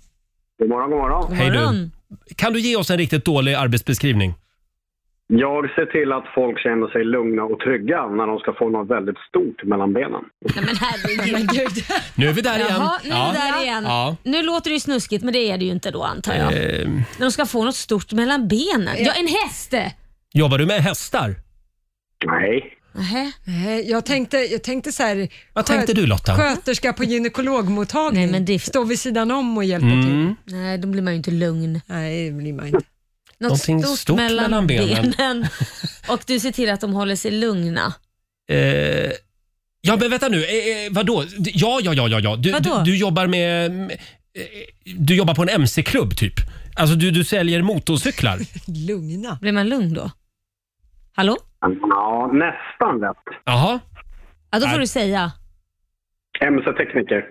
J: God morgon, god morgon.
A: Hej du.
D: Morgon.
A: Kan du ge oss en riktigt dålig arbetsbeskrivning?
J: Jag ser till att folk känner sig lugna och trygga när de ska få något väldigt stort mellan benen.
D: Nej, men herregud.
B: Gud.
A: Nu är vi där igen.
D: Jaha, nu är det där igen.
A: Ja.
D: Nu låter det ju snuskigt, men det är det ju inte då antar jag.
A: Ehm,
D: När de ska få något stort mellan benen. Ja, en häst!
A: jobbar du med hästar?
J: Nej.
D: Nähä.
B: Nej, Jag tänkte, jag tänkte så här,
A: Vad tänkte du, Lotta?
B: Sköterska på gynekologmottagning.
D: Nej, men det är för-
B: Står vid sidan om och hjälper till.
A: Mm.
D: Nej, då blir man ju inte lugn.
B: Nej, det blir man inte.
D: Något
A: Någonting stort mellan benen.
D: Och du ser till att de håller sig lugna.
A: Eh, ja, men vänta nu. Eh, eh, vadå? Ja, ja, ja, ja. ja. Du,
D: Vadå?
A: du, du jobbar med... eh, Du jobbar på en MC-klubb typ. Alltså du, du säljer motorcyklar.
B: Lugna.
D: Blir man lugn då? Hallå?
J: Ja, nästan rätt.
A: Jaha.
D: Ja, då
A: Nej.
D: får du säga.
J: MC-tekniker.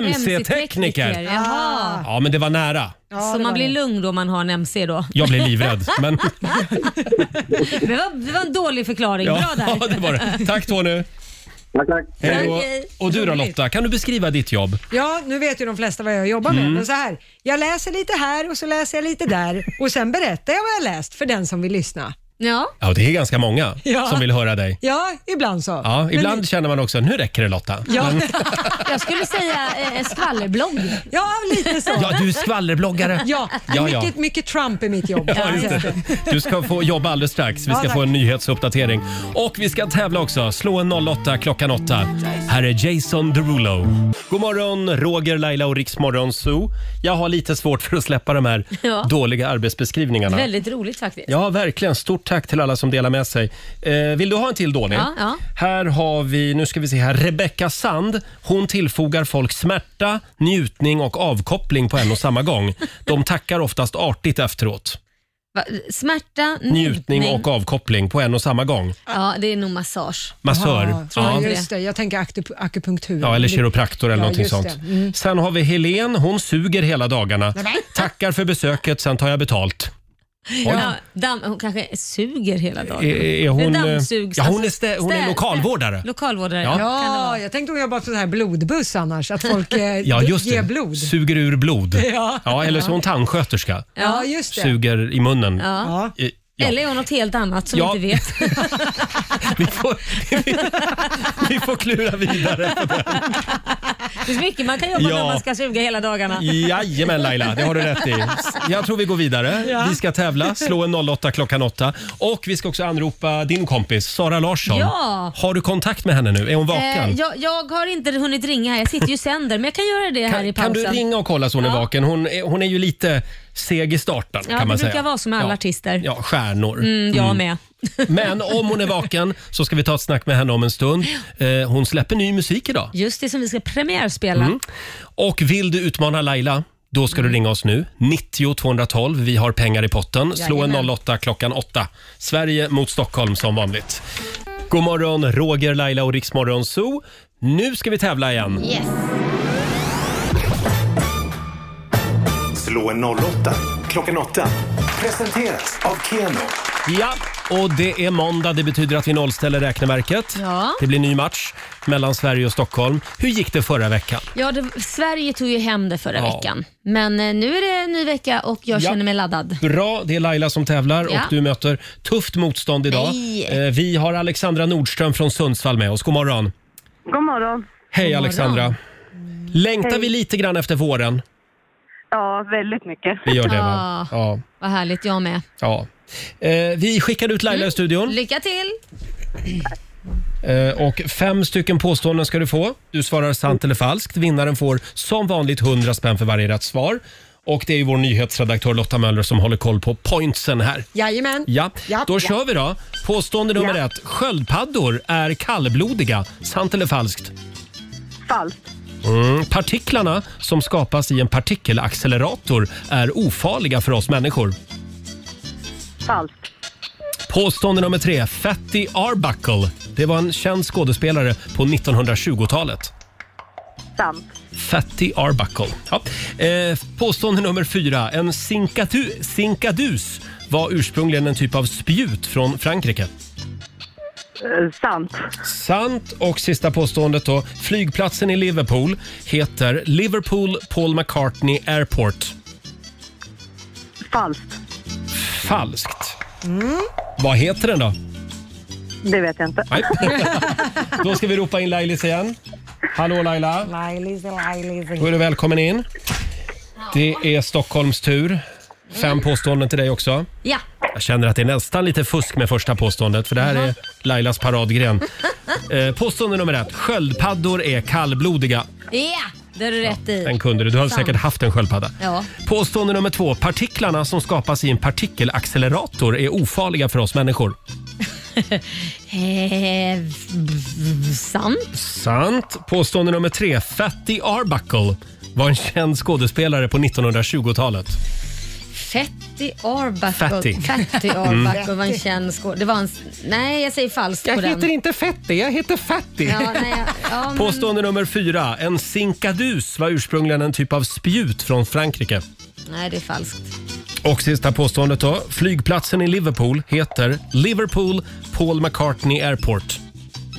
A: MC-tekniker.
B: Ah.
D: Jaha.
A: Ja, men det var nära.
B: Ja,
D: Så man
B: det var
D: blir
B: det.
D: lugn då om man har en MC då?
A: Jag blev livrädd. Men,
D: Det var, det var en dålig förklaring.
A: ja,
D: Bra där.
A: det var det. Tack Tony.
J: Tack, tack.
A: Hej då.
D: Okej.
A: Och du då Lotta, kan du beskriva ditt jobb?
B: Ja, nu vet ju de flesta vad jag jobbar
A: Mm.
B: med. Men så här, jag läser lite här och så läser jag lite där och sen berättar jag vad jag läst för den som vill lyssna.
D: Ja.
A: Ja, det är ganska många
B: Ja.
A: som vill höra dig.
B: Ja, ibland så.
A: Ja,
B: Men-
A: ibland känner man också, nu räcker det Lotta.
B: Ja.
A: Men-
D: Jag skulle säga eh, skvallerblogg.
B: Ja, lite så.
A: Ja, du är skvallerbloggare.
B: Ja,
A: Ja, ja.
B: Mycket, mycket Trump i mitt jobb.
A: Ja, just det. Du ska få jobba alldeles strax. Vi
B: Ja,
A: ska
B: tack.
A: få en nyhetsuppdatering. Och vi ska tävla också. Slå en 08 klockan 8. Här är Jason Derulo. God morgon, Roger, Laila och Riksmorgon Zoo. Jag har lite svårt för att släppa de här
D: Ja.
A: dåliga arbetsbeskrivningarna.
D: Väldigt roligt faktiskt.
A: Ja, verkligen. Stort tack till alla som delar med sig. Eh, vill du ha en till dålig?
D: Ja, ja.
A: Här har vi, nu ska vi se här, Rebecka Sand. Hon tillfogar folk smärta, njutning och avkoppling på en och samma gång. De tackar oftast artigt efteråt.
D: Va? Smärta, njutning,
A: Njutning och avkoppling på en och samma gång.
B: Mm.
D: Ja, det är nog massage.
A: Massör. Ja.
B: Ja, just det. Jag tänker akup- akupunktur.
A: Ja, eller kiropraktor eller
B: Ja,
A: någonting
B: just
A: sånt.
B: det. Mm.
A: Sen har vi Helen. Hon suger hela dagarna.
D: Nej, men.
A: Tackar för besöket, sen tar jag betalt.
D: Ja, damm, hon kanske suger hela dagen.
A: Är, är hon, eh,
D: Dammsugs,
A: ja, hon, är
D: alltså,
A: stä, hon är
D: städ-
A: lokalvårdare.
D: Lokalvårdare.
A: Ja.
B: Ja,
A: Kan
B: jag tänkte hon jobbade på så här blodbuss annars, att folk eh,
A: Ja, just
B: ger
A: det.
B: blod.
A: Suger ur blod.
B: Ja.
A: eller så är hon tandsköterska.
B: Ja, just det.
A: Suger i munnen.
D: Ja.
A: I- Ja.
D: Eller är hon något helt annat som
A: Ja.
D: vi inte vet?
A: Vi, får, vi, vi får klura vidare.
D: Det är mycket man kan jobba med
A: Ja.
D: om man ska suga hela dagarna.
A: Jajamän Laila, det har du rätt i. Jag tror vi går vidare.
D: Ja.
A: Vi ska tävla, slå en 08 klockan 8. Och vi ska också anropa din kompis Sara Larsson.
D: Ja.
A: Har du kontakt med henne nu? Är hon vaken?
D: Eh, jag, jag har inte hunnit ringa här, jag sitter ju och sänder, men jag kan göra det här i
A: kan,
D: pausen.
A: kan du ringa och kolla så hon är vaken? Hon är, hon är ju lite seg i starten
D: Ja,
A: kan man
D: det brukar
A: säga.
D: vara som med alla artister.
A: Ja, stjärnor.
D: Mm, jag
A: Mm.
D: med.
A: Men om hon är vaken så ska vi ta ett snack med henne om en stund. Eh, hon släpper ny musik idag.
D: Just det som vi ska premiärspela.
A: Mm. Och vill du utmana Laila, då ska du ringa oss nu. 90 212. Vi har pengar i potten. Slå en
D: Jajamän.
A: 08 klockan 8. Sverige mot Stockholm som vanligt. God morgon, Roger, Laila och Riksmorgon Zoo. Nu ska vi tävla igen.
K: Yes.
C: Slå en 08 klockan 8. Presenteras av Keno.
A: Ja, och det är måndag. Det betyder att vi nollställer räkneverket.
D: Ja.
A: Det blir ny match mellan Sverige och Stockholm. Hur gick det förra veckan?
D: Ja, det, Sverige tog ju hem det förra
A: Ja.
D: veckan, men eh, nu är det en ny vecka och jag
A: Ja.
D: känner mig laddad.
A: Bra, det är Laila som tävlar
D: Ja.
A: och du möter tufft motstånd idag.
D: Nej.
A: Eh, Vi har Alexandra Nordström från Sundsvall med oss. God morgon.
H: God morgon.
A: Hej Alexandra. Längtar
H: Hej.
A: vi lite grann efter våren?
H: Ja, väldigt mycket.
A: Vi gör det va?
D: Ja.
A: Ja.
D: Vad härligt, jag med.
A: ja. Eh, Vi skickade ut Laila i studion
D: Lycka till!
A: Eh, och fem stycken påståenden ska du få. Du svarar sant eller falskt. Vinnaren får som vanligt 100 spänn för varje rätt svar. Och det är ju vår nyhetsredaktör Lotta Möller som håller koll på pointsen här.
B: Jajamän.
A: Ja,
B: Ja,
A: då
B: ja.
A: kör vi då. Påstående nummer ett. Sköldpaddor är kallblodiga. Sant eller falskt?
H: Falskt.
A: Mm. Partiklarna som skapas i en partikelaccelerator är ofarliga för oss människor.
H: Falskt.
A: Påstående nummer tre. Fatty Arbuckle. Det var en känd skådespelare på 1920-talet.
H: Sant.
A: Fatty Arbuckle. Ja. Eh, påstående nummer fyra. En sinkadu, sinkadus var ursprungligen en typ av spjut från Frankrike.
H: Eh, sant.
A: Sant. Och sista påståendet då. Flygplatsen i Liverpool heter Liverpool Paul McCartney Airport.
H: Falskt.
A: Falskt.
D: Mm.
A: Vad heter den då?
H: Det vet jag inte.
A: Nej. då ska vi ropa in Lailis igen. Hallå Laila.
B: Lailis, Lailis.
A: Då är du välkommen in. Det är Stockholms tur. Fem påståenden till dig också.
D: Ja,
A: Jag känner att det är nästan lite fusk med första påståendet för det här är Lailas paradgren. Eh, påstående nummer ett. Sköldpaddor är kallblodiga.
D: ja det har du rätt
A: Den
D: i.
A: kunde du. Du har
D: Sant.
A: säkert haft en sköldpadda.
D: Ja.
A: Påstående nummer två. Partiklarna som skapas i en partikelaccelerator är ofarliga för oss människor.
D: Eh, sant?
A: Sant. Påstående nummer tre. Fatty Arbuckle var en känd skådespelare på 1920-talet.
D: Fatty Arbuckle.
A: Fatty.
D: Fatty
A: Mm.
D: Arbuckle var en känd skåd... Det var en... Nej, jag säger falskt på den.
A: inte Fatty, jag heter Fatty.
D: Ja, nej, jag- ja, men...
A: Påstående nummer fyra. En sinkadus var ursprungligen en typ av spjut från Frankrike.
D: Nej, det är falskt.
A: Och sista påståendet då. Flygplatsen i Liverpool heter Liverpool Paul McCartney Airport.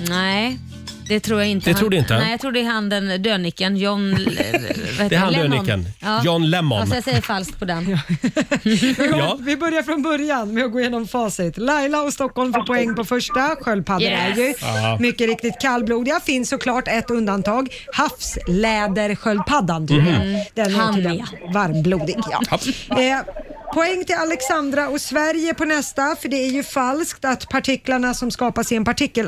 D: Nej, Det tror jag inte.
A: Det tror du inte?
D: Nej, jag tror det är han den dönicken, John... vad heter
A: Det är han
D: Lennon.
A: dönicken. John Lemmon.
D: Ja, så jag säger falskt på den.
A: Ja.
B: Vi börjar från början med att gå igenom facit. Laila och Stockholm får poäng på första. Sköldpaddor
D: Yes.
B: är ju
A: Ja.
B: mycket riktigt kallblodiga. Finns såklart ett undantag. Havslädersköldpaddan tydligen.
D: Mhm.
B: Den är
D: Han,
B: tydligen varmblodig. Ja. Eh, poäng till Alexandra och Sverige på nästa, för det är ju falskt att partiklarna som skapas i en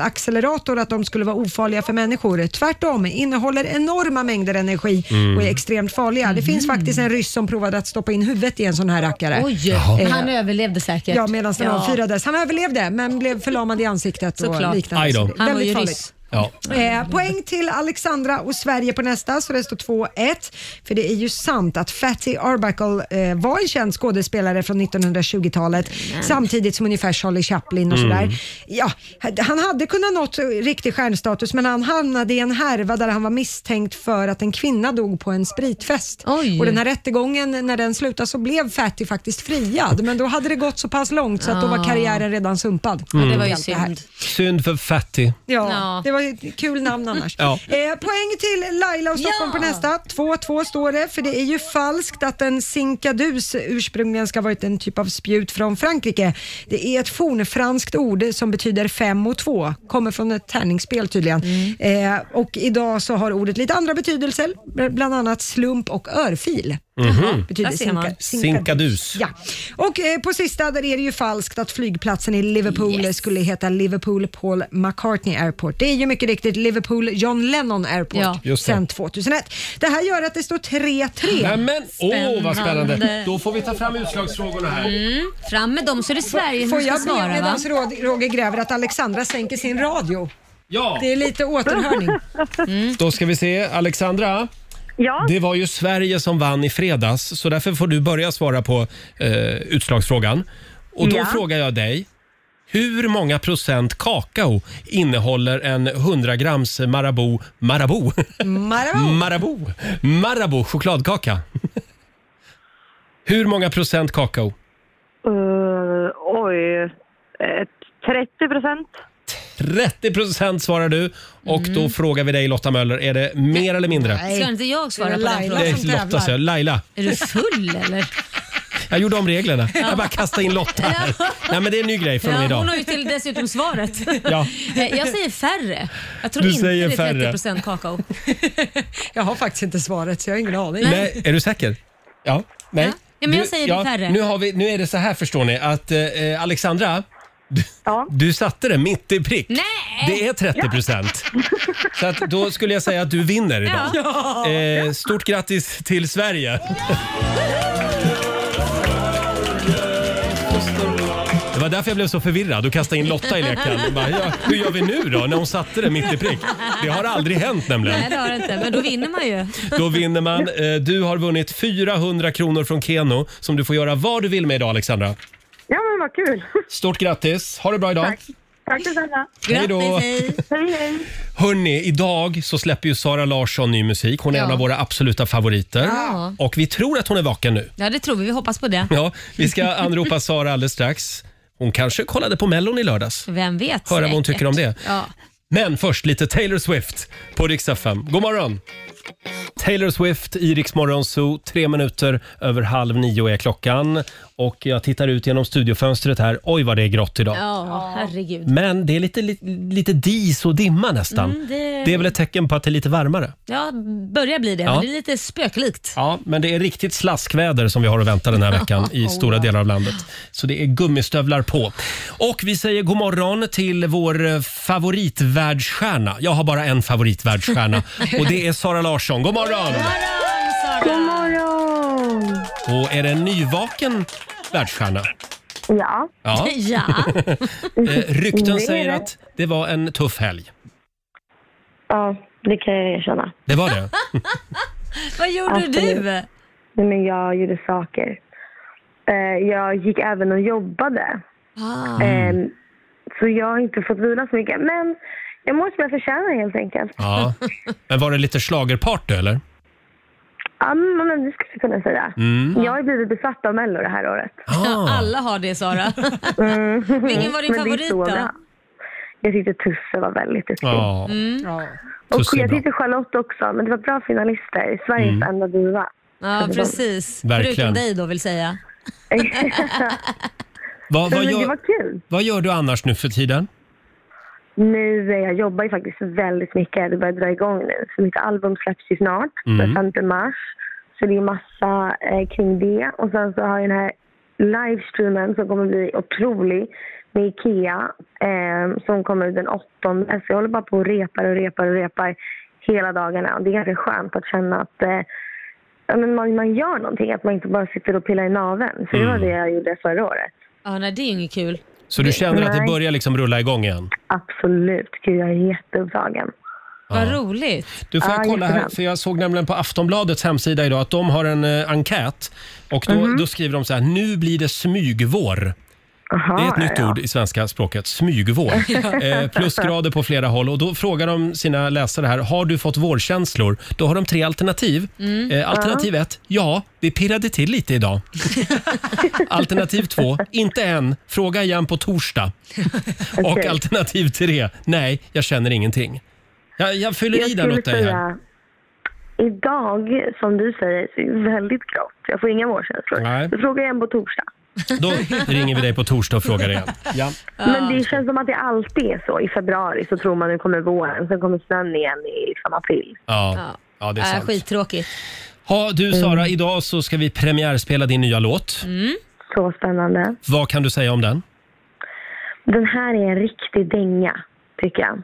B: partikelaccelerator att de skulle vara ofarliga för människor. Tvärtom, innehåller enorma mängder energi
K: Mm.
B: och är extremt farliga. Det finns
D: Mm.
B: faktiskt en ryss som provade att stoppa in huvudet i en sån här rackare.
D: Oj,
B: Eh,
D: han överlevde säkert.
B: Ja, medan den
D: Ja.
B: avfyrades. Han överlevde men blev förlamad i ansiktet
D: Såklart.
B: och liknande.
A: Aj då.
B: Så det är
D: Han var
B: väldigt
D: ju
B: farligt.
D: ryss.
A: Ja.
B: Eh, poäng till Alexandra och Sverige på nästa, så det står 2-1. För det är ju sant att Fatty Arbuckle eh, var en känd skådespelare från 1920-talet, samtidigt som ungefär Charlie Chaplin och
K: Mm.
B: sådär. Ja, han hade kunnat nått riktig stjärnstatus, men han hamnade i en härva där han var misstänkt för att en kvinna dog på en spritfest. Och den här rättegången, när den slutade så blev Fatty faktiskt friad, men då hade det gått så pass långt så att då var
D: Ah.
B: karriären redan sumpad.
A: Mm.
B: Allt här.
A: Synd för Fatty.
B: Ja, det var ju ett kul namn annars.
A: Ja.
B: Eh, poäng till Laila och Stockholm på nästa. 2-2 står det, för det är ju falskt att en sinkadus ursprungligen ska ha varit en typ av spjut från Frankrike. Det är ett fornfranskt ord som betyder fem och två. Kommer från ett tärningsspel tydligen.
A: Mm.
B: Eh, och idag så har ordet lite andra betydelser, bland annat slump och örfil.
A: Mhm.
B: Betyder
A: Där ser man.
B: sinka-
A: Sinkadus.
B: Ja. Och eh, på sista där är det ju falskt att flygplatsen i Liverpool skulle heta Liverpool Paul McCartney Airport. Det är ju mycket riktigt Liverpool John Lennon Airport
A: Ja. Just det.
B: sedan 2001. Det här gör att det står 3-3.
A: Nämen, åh vad spännande. Då får vi ta fram utslagsfrågorna här.
D: Mm. Fram med dem så är det Sverige som
B: Får
D: ska
B: jag be
D: svara va?
B: medan Rå- Roger gräver att Alexandra sänker sin radio?
A: Ja.
B: Det är lite återhörning.
D: Mm.
A: Då ska vi se. Alexandra?
B: Ja.
A: Det var ju Sverige som vann i fredags, så därför får du börja svara på eh, utslagsfrågan. Och då
M: Ja.
A: frågar jag dig, hur många procent kakao innehåller en 100 grams Marabou... Marabou?
B: Marabou.
A: Marabou. Marabou chokladkaka. hur många procent kakao?
N: Eh, oj. Eh, 30 procent.
A: 30 procent svarar du. Och då frågar vi dig Lotta Möller, är det mer eller mindre?
D: Ska inte jag svara på den
A: Det är Lotta, så jag- Laila.
D: Är du full eller?
A: Jag gjorde om reglerna. Jag bara kastade in Lotta här. Nej, men det är en ny grej från och med
D: Ja, hon har
A: idag.
D: ju till dessutom svaret.
A: Ja.
D: Eh, Jag säger färre. Jag tror
A: Du
D: inte
A: säger
D: det
A: färre.
D: är 30% kakao.
B: Jag har faktiskt inte svaret så jag har ingen aning.
A: Nej, är du säker? Ja. Nej.
D: Ja, men jag
A: Du-
D: säger det färre.
A: Nu, har vi, nu är det så här förstår ni att eh, eh, Alexandra, du, du satte det mitt i prick.
D: Nej!
A: Det är 30 procent. Så att då skulle jag säga att du vinner idag.
E: Ja.
A: Eh, stort grattis till Sverige. Det var därför jag blev så förvirrad och kastade in Lotta i leken. Jag Bara, ja, hur gör vi nu då när hon satte det mitt i prick? Det har aldrig hänt nämligen.
D: Nej, det har det inte. Men då vinner man ju.
A: Då vinner man. Eh, Du har vunnit 400 kronor från Keno som du får göra vad du vill med idag Alexandra.
N: Ja, men vad kul.
A: Stort grattis! Ha det bra idag!
N: Tack detsamma.
A: Hej då. Grattis,
N: Hej, hej.
A: Hörni, idag så släpper ju Sara Larsson ny musik. Hon är
D: Ja.
A: en av våra absoluta favoriter.
D: Ja.
A: Och vi tror att hon är vaken nu.
D: Ja, det tror vi. Vi hoppas på det.
A: Ja, vi ska anropa Sara alldeles strax. Hon kanske kollade på Mellon i lördags.
D: Vem vet?
A: Höra vad hon
D: säkert.
A: tycker om det.
D: Ja.
A: Men först lite Taylor Swift på Rix FM. God morgon! Taylor Swift i Rix Morgon Zoo. Tre minuter över halv nio är klockan. Och jag tittar ut genom studiofönstret här. Oj vad det är grått idag.
D: Ja, herregud.
A: Men det är lite, lite, lite dis och dimma nästan.
D: Mm, det-
A: det... är väl ett tecken på att det är lite varmare.
D: Ja, börjar bli det.
A: Ja.
D: Men det är lite spöklikt.
A: Ja, men det är riktigt slaskväder som vi har att vänta den här veckan i
D: Oh,
A: stora
D: ja.
A: delar av landet. Så det är gummistövlar på. Och vi säger god morgon till vår eh, favoritvärldsstjärna. Jag har bara en favoritvärldsstjärna och det är Sara Larsson. God morgon!
N: God morgon.
A: Och är det en nyvaken världsstjärna?
N: Ja.
A: Ja. Eh, Rykten säger att det var en tuff helg.
N: Ja, det kan jag erkänna.
A: Det var det?
D: Vad gjorde du?
N: Absolut. Nej, men jag gjorde saker. Eh, Jag gick även och jobbade.
D: Ah.
N: Eh, Så jag har inte fått vila så mycket. Men jag mår som jag förtjänar helt enkelt.
A: Ja. Men var det lite schlagerparty eller?
N: Ja, men men det skulle jag kunna säga.
A: Mm.
N: Jag har blivit besatt av Mello det här året.
A: Ah.
D: Alla har det Sara.
N: Mm.
D: Vilken var din
N: Men det är
D: favorit
N: så
D: då?
N: bra. Jag tyckte Tusse var väldigt duktig.
A: Ja.
D: Mm.
N: Och
A: Tusse är
N: jag
A: bra.
N: tyckte Charlotte också, men det var bra finalister. Sveriges
A: Mm.
N: enda duva.
D: Ja, precis.
A: Verkligen.
D: Förutom dig då vill säga.
A: Vad, vad,
N: Men det
A: gör,
N: var kul.
A: vad gör du annars nu för tiden?
N: Nu, eh, jag jobbar ju faktiskt väldigt mycket. Det börjar dra igång nu. Så mitt album släpps ju snart,
A: Mm.
N: den 5 mars. Så det är massa eh, kring det. Och sen så har jag den här livestreamen som kommer bli otrolig med IKEA eh, som kommer ut den 8. Så jag håller bara på och repar och repar och repar hela dagarna. Och det är ganska skönt att känna att eh, ja, men man, man gör någonting, att man inte bara sitter och pillar i naveln. Så det var
A: Mm.
N: det jag gjorde förra året.
D: Ja, nej, det är ju inget kul.
A: Så du känner att det
N: Nej.
A: börjar liksom rulla igång igen?
N: Absolut. Gud, jag är jätteupptagen.
D: Vad roligt.
A: Du får
D: Ja,
A: jag kolla här,
D: jättebra.
A: för jag såg nämligen på Aftonbladets hemsida idag att de har en eh, enkät och då, då skriver de så här, nu blir det smygvår. Det är ett nytt ord i svenska språket, smygvår. eh, plusgrader på flera håll och då frågar de sina läsare här, har du fått vårkänslor? Då har de tre alternativ.
E: Mm.
A: Eh, alternativ ett, ja, vi pirrade till lite idag. alternativ två, inte än, fråga igen på torsdag. Och
N: Okej.
A: alternativ tre, nej, jag känner ingenting. Jag, jag fyller i den
N: skulle
A: åt dig här.
N: Idag, som du säger, så är det väldigt grått. Jag får inga vårkänslor.
A: Nej.
N: Du frågar igen på torsdag.
A: Då ringer vi dig på torsdag och frågar igen. Ja.
N: Men det känns som att det alltid är så. I februari så tror man nu kommer våren, sen kommer snön igen i liksom april.
A: Ja. ja,
N: Äh,
A: det är sant.
D: Äh, skittråkigt.
A: Ha, du
N: Mm.
A: Sara, idag så ska vi premiärspela din nya låt.
N: Så spännande.
A: Vad kan du säga om den?
N: Den här är en riktig dänga, tycker jag.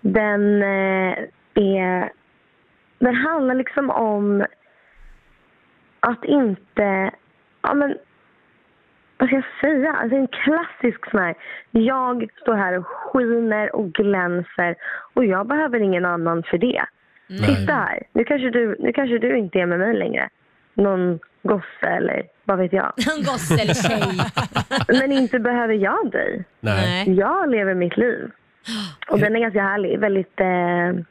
N: Den eh, är... Den handlar liksom om att inte... Ja, men, vad ska jag säga? Alltså en klassisk sån här... Jag står här och skiner och glänser och jag behöver ingen annan för det.
E: Nej.
N: Titta här, nu kanske, du, nu kanske du inte är med mig längre. Någon gosse eller vad vet jag.
D: En gosse eller tjej.
N: Men inte behöver jag dig.
A: Nej.
N: Jag lever mitt liv. Och den är ganska härlig. Väldigt eh,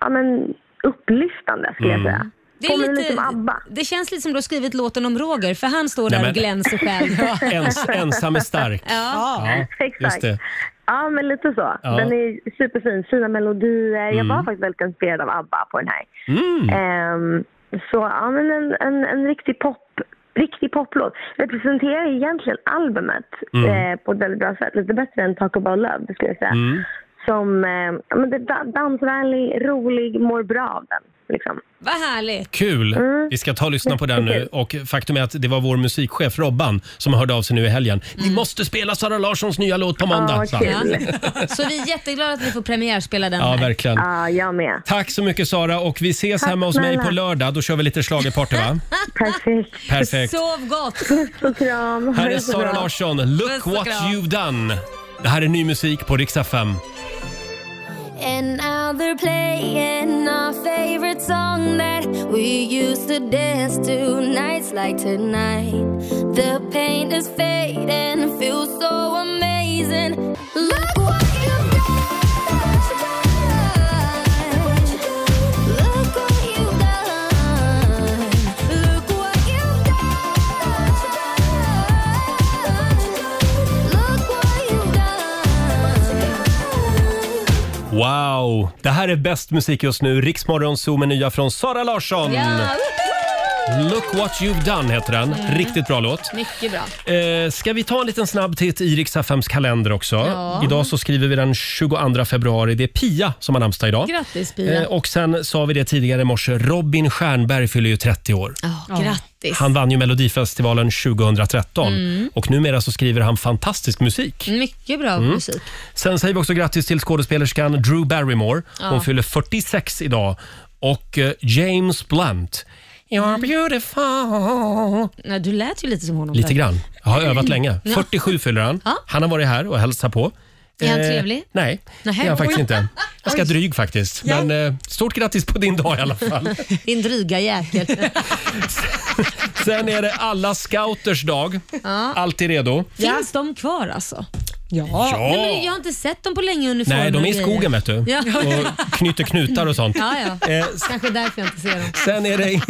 N: ja, men upplyftande skulle
A: Mm.
N: jag säga. liksom-
D: Det,
N: Påminner
D: är
N: lite om
D: lite, det känns lite som du har skrivit låten om Roger, för han står
A: Nej,
D: där
A: men-
D: och glänser själv.
A: Ens, ensam är stark.
D: Ja.
A: just
N: Exakt.
A: det.
N: Ja, men lite så.
A: Ja.
N: Den är superfin. Fina melodier.
A: Mm.
N: Jag var faktiskt väldigt inspirerad av ABBA på den här.
A: Mm.
N: Ehm, så ja, men en, en, en riktig pop. Riktig poplåt. Representerar egentligen albumet
E: Mm.
N: eh, på ett väldigt bra sätt. Lite bättre än Talk about love, skulle jag säga.
E: Mm.
N: Som eh, ja, men det är da- dansvänlig, rolig, mår bra av den. Liksom.
D: Vad härligt.
A: Kul!
N: Mm.
A: Vi ska ta och lyssna på den nu. Och faktum är att det var vår musikchef Robban som hörde av sig nu i helgen. Ni
N: Mm.
A: måste spela Sara Larssons nya låt på måndag! sa han.
D: Ja. Så vi är jätteglada att vi får premiärspela den
A: Ja,
D: här.
A: verkligen.
N: Ja, jag med.
A: Tack så mycket Sara och vi ses
D: Tack
A: hemma hos mig
D: snälla.
A: på lördag. Då kör vi lite schlagerparty va?
N: Perfekt.
A: Perfekt.
D: Sov gott.
N: Puss och kram. Ha
A: Här är
N: det så
A: Sara
N: bra.
A: Larsson, Look
N: Puss och
A: what
N: kram.
A: you've done. Det här är ny musik på Riksa 5.
M: And now they're playing our favorite song that we used to dance to nights like tonight. The pain is fading, feels so amazing. Look what you've done. Look what you've done. Look what you've done. Look what you've done.
A: Wow! Det här är bäst musik just nu. Riksmorgon Zoo med nya från Sara Larsson. Look what you've done heter den.
D: Mm.
A: Riktigt bra låt.
D: Mycket bra.
A: Eh, ska vi ta en liten snabb titt i Riksaffems kalender också?
D: Ja.
A: Idag så skriver vi den 22 februari. Det är Pia som har namnsdag idag.
D: Grattis Pia.
A: Eh, och sen sa vi det tidigare i morse, Robin Stjernberg fyller ju 30 år.
D: Ja, grattis.
A: Han vann ju Melodifestivalen 2013
D: Mm.
A: och numera så skriver han fantastisk musik.
D: Mycket bra
A: Mm.
D: musik.
A: Sen säger vi också grattis till skådespelerskan Drew Barrymore. Hon
D: Ja.
A: fyller 46 idag. Och eh, James Blunt. You're beautiful.
D: Nej, du lät ju lite som honom.
A: Lite
D: förut.
A: grann. Jag har övat länge.
D: Ja.
A: 47 fyller han.
D: Ja.
A: Han har varit här och hälsat på.
D: Är han
A: Eh,
D: trevlig?
A: Nej,
D: Nähä.
A: det är han faktiskt
D: Oj.
A: inte. Jag ska
D: Oj.
A: dryg faktiskt.
D: Ja.
A: Men eh, stort grattis på din dag i alla fall.
D: Din dryga jäkel.
A: Sen är det alla scouters dag.
D: Ja.
A: Alltid redo.
D: Finns de kvar alltså?
B: Ja.
D: Nej, men jag har inte sett dem på länge uniformer.
A: Nej, de är i
D: och grejer.
A: skogen vet du.
D: Ja.
A: Och knyter knutar och sånt.
D: Ja, ja.
A: Eh,
D: Kanske därför jag inte ser dem.
A: Sen är det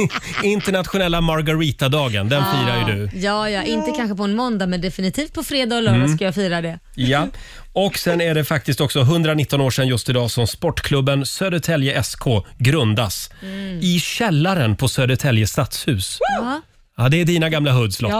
A: internationella Margarita-dagen. Den firar ju du.
D: Ah, Ja, ja, inte kanske på en måndag men definitivt på fredag och lördag
A: Mm.
D: ska jag fira det.
A: Ja. Och sen är det faktiskt också 119 år sedan just idag som sportklubben Södertälje SK grundas.
B: Mm.
A: I källaren på Södertälje stadshus.
D: Ja.
A: Ja, det är dina gamla hoods Lotta.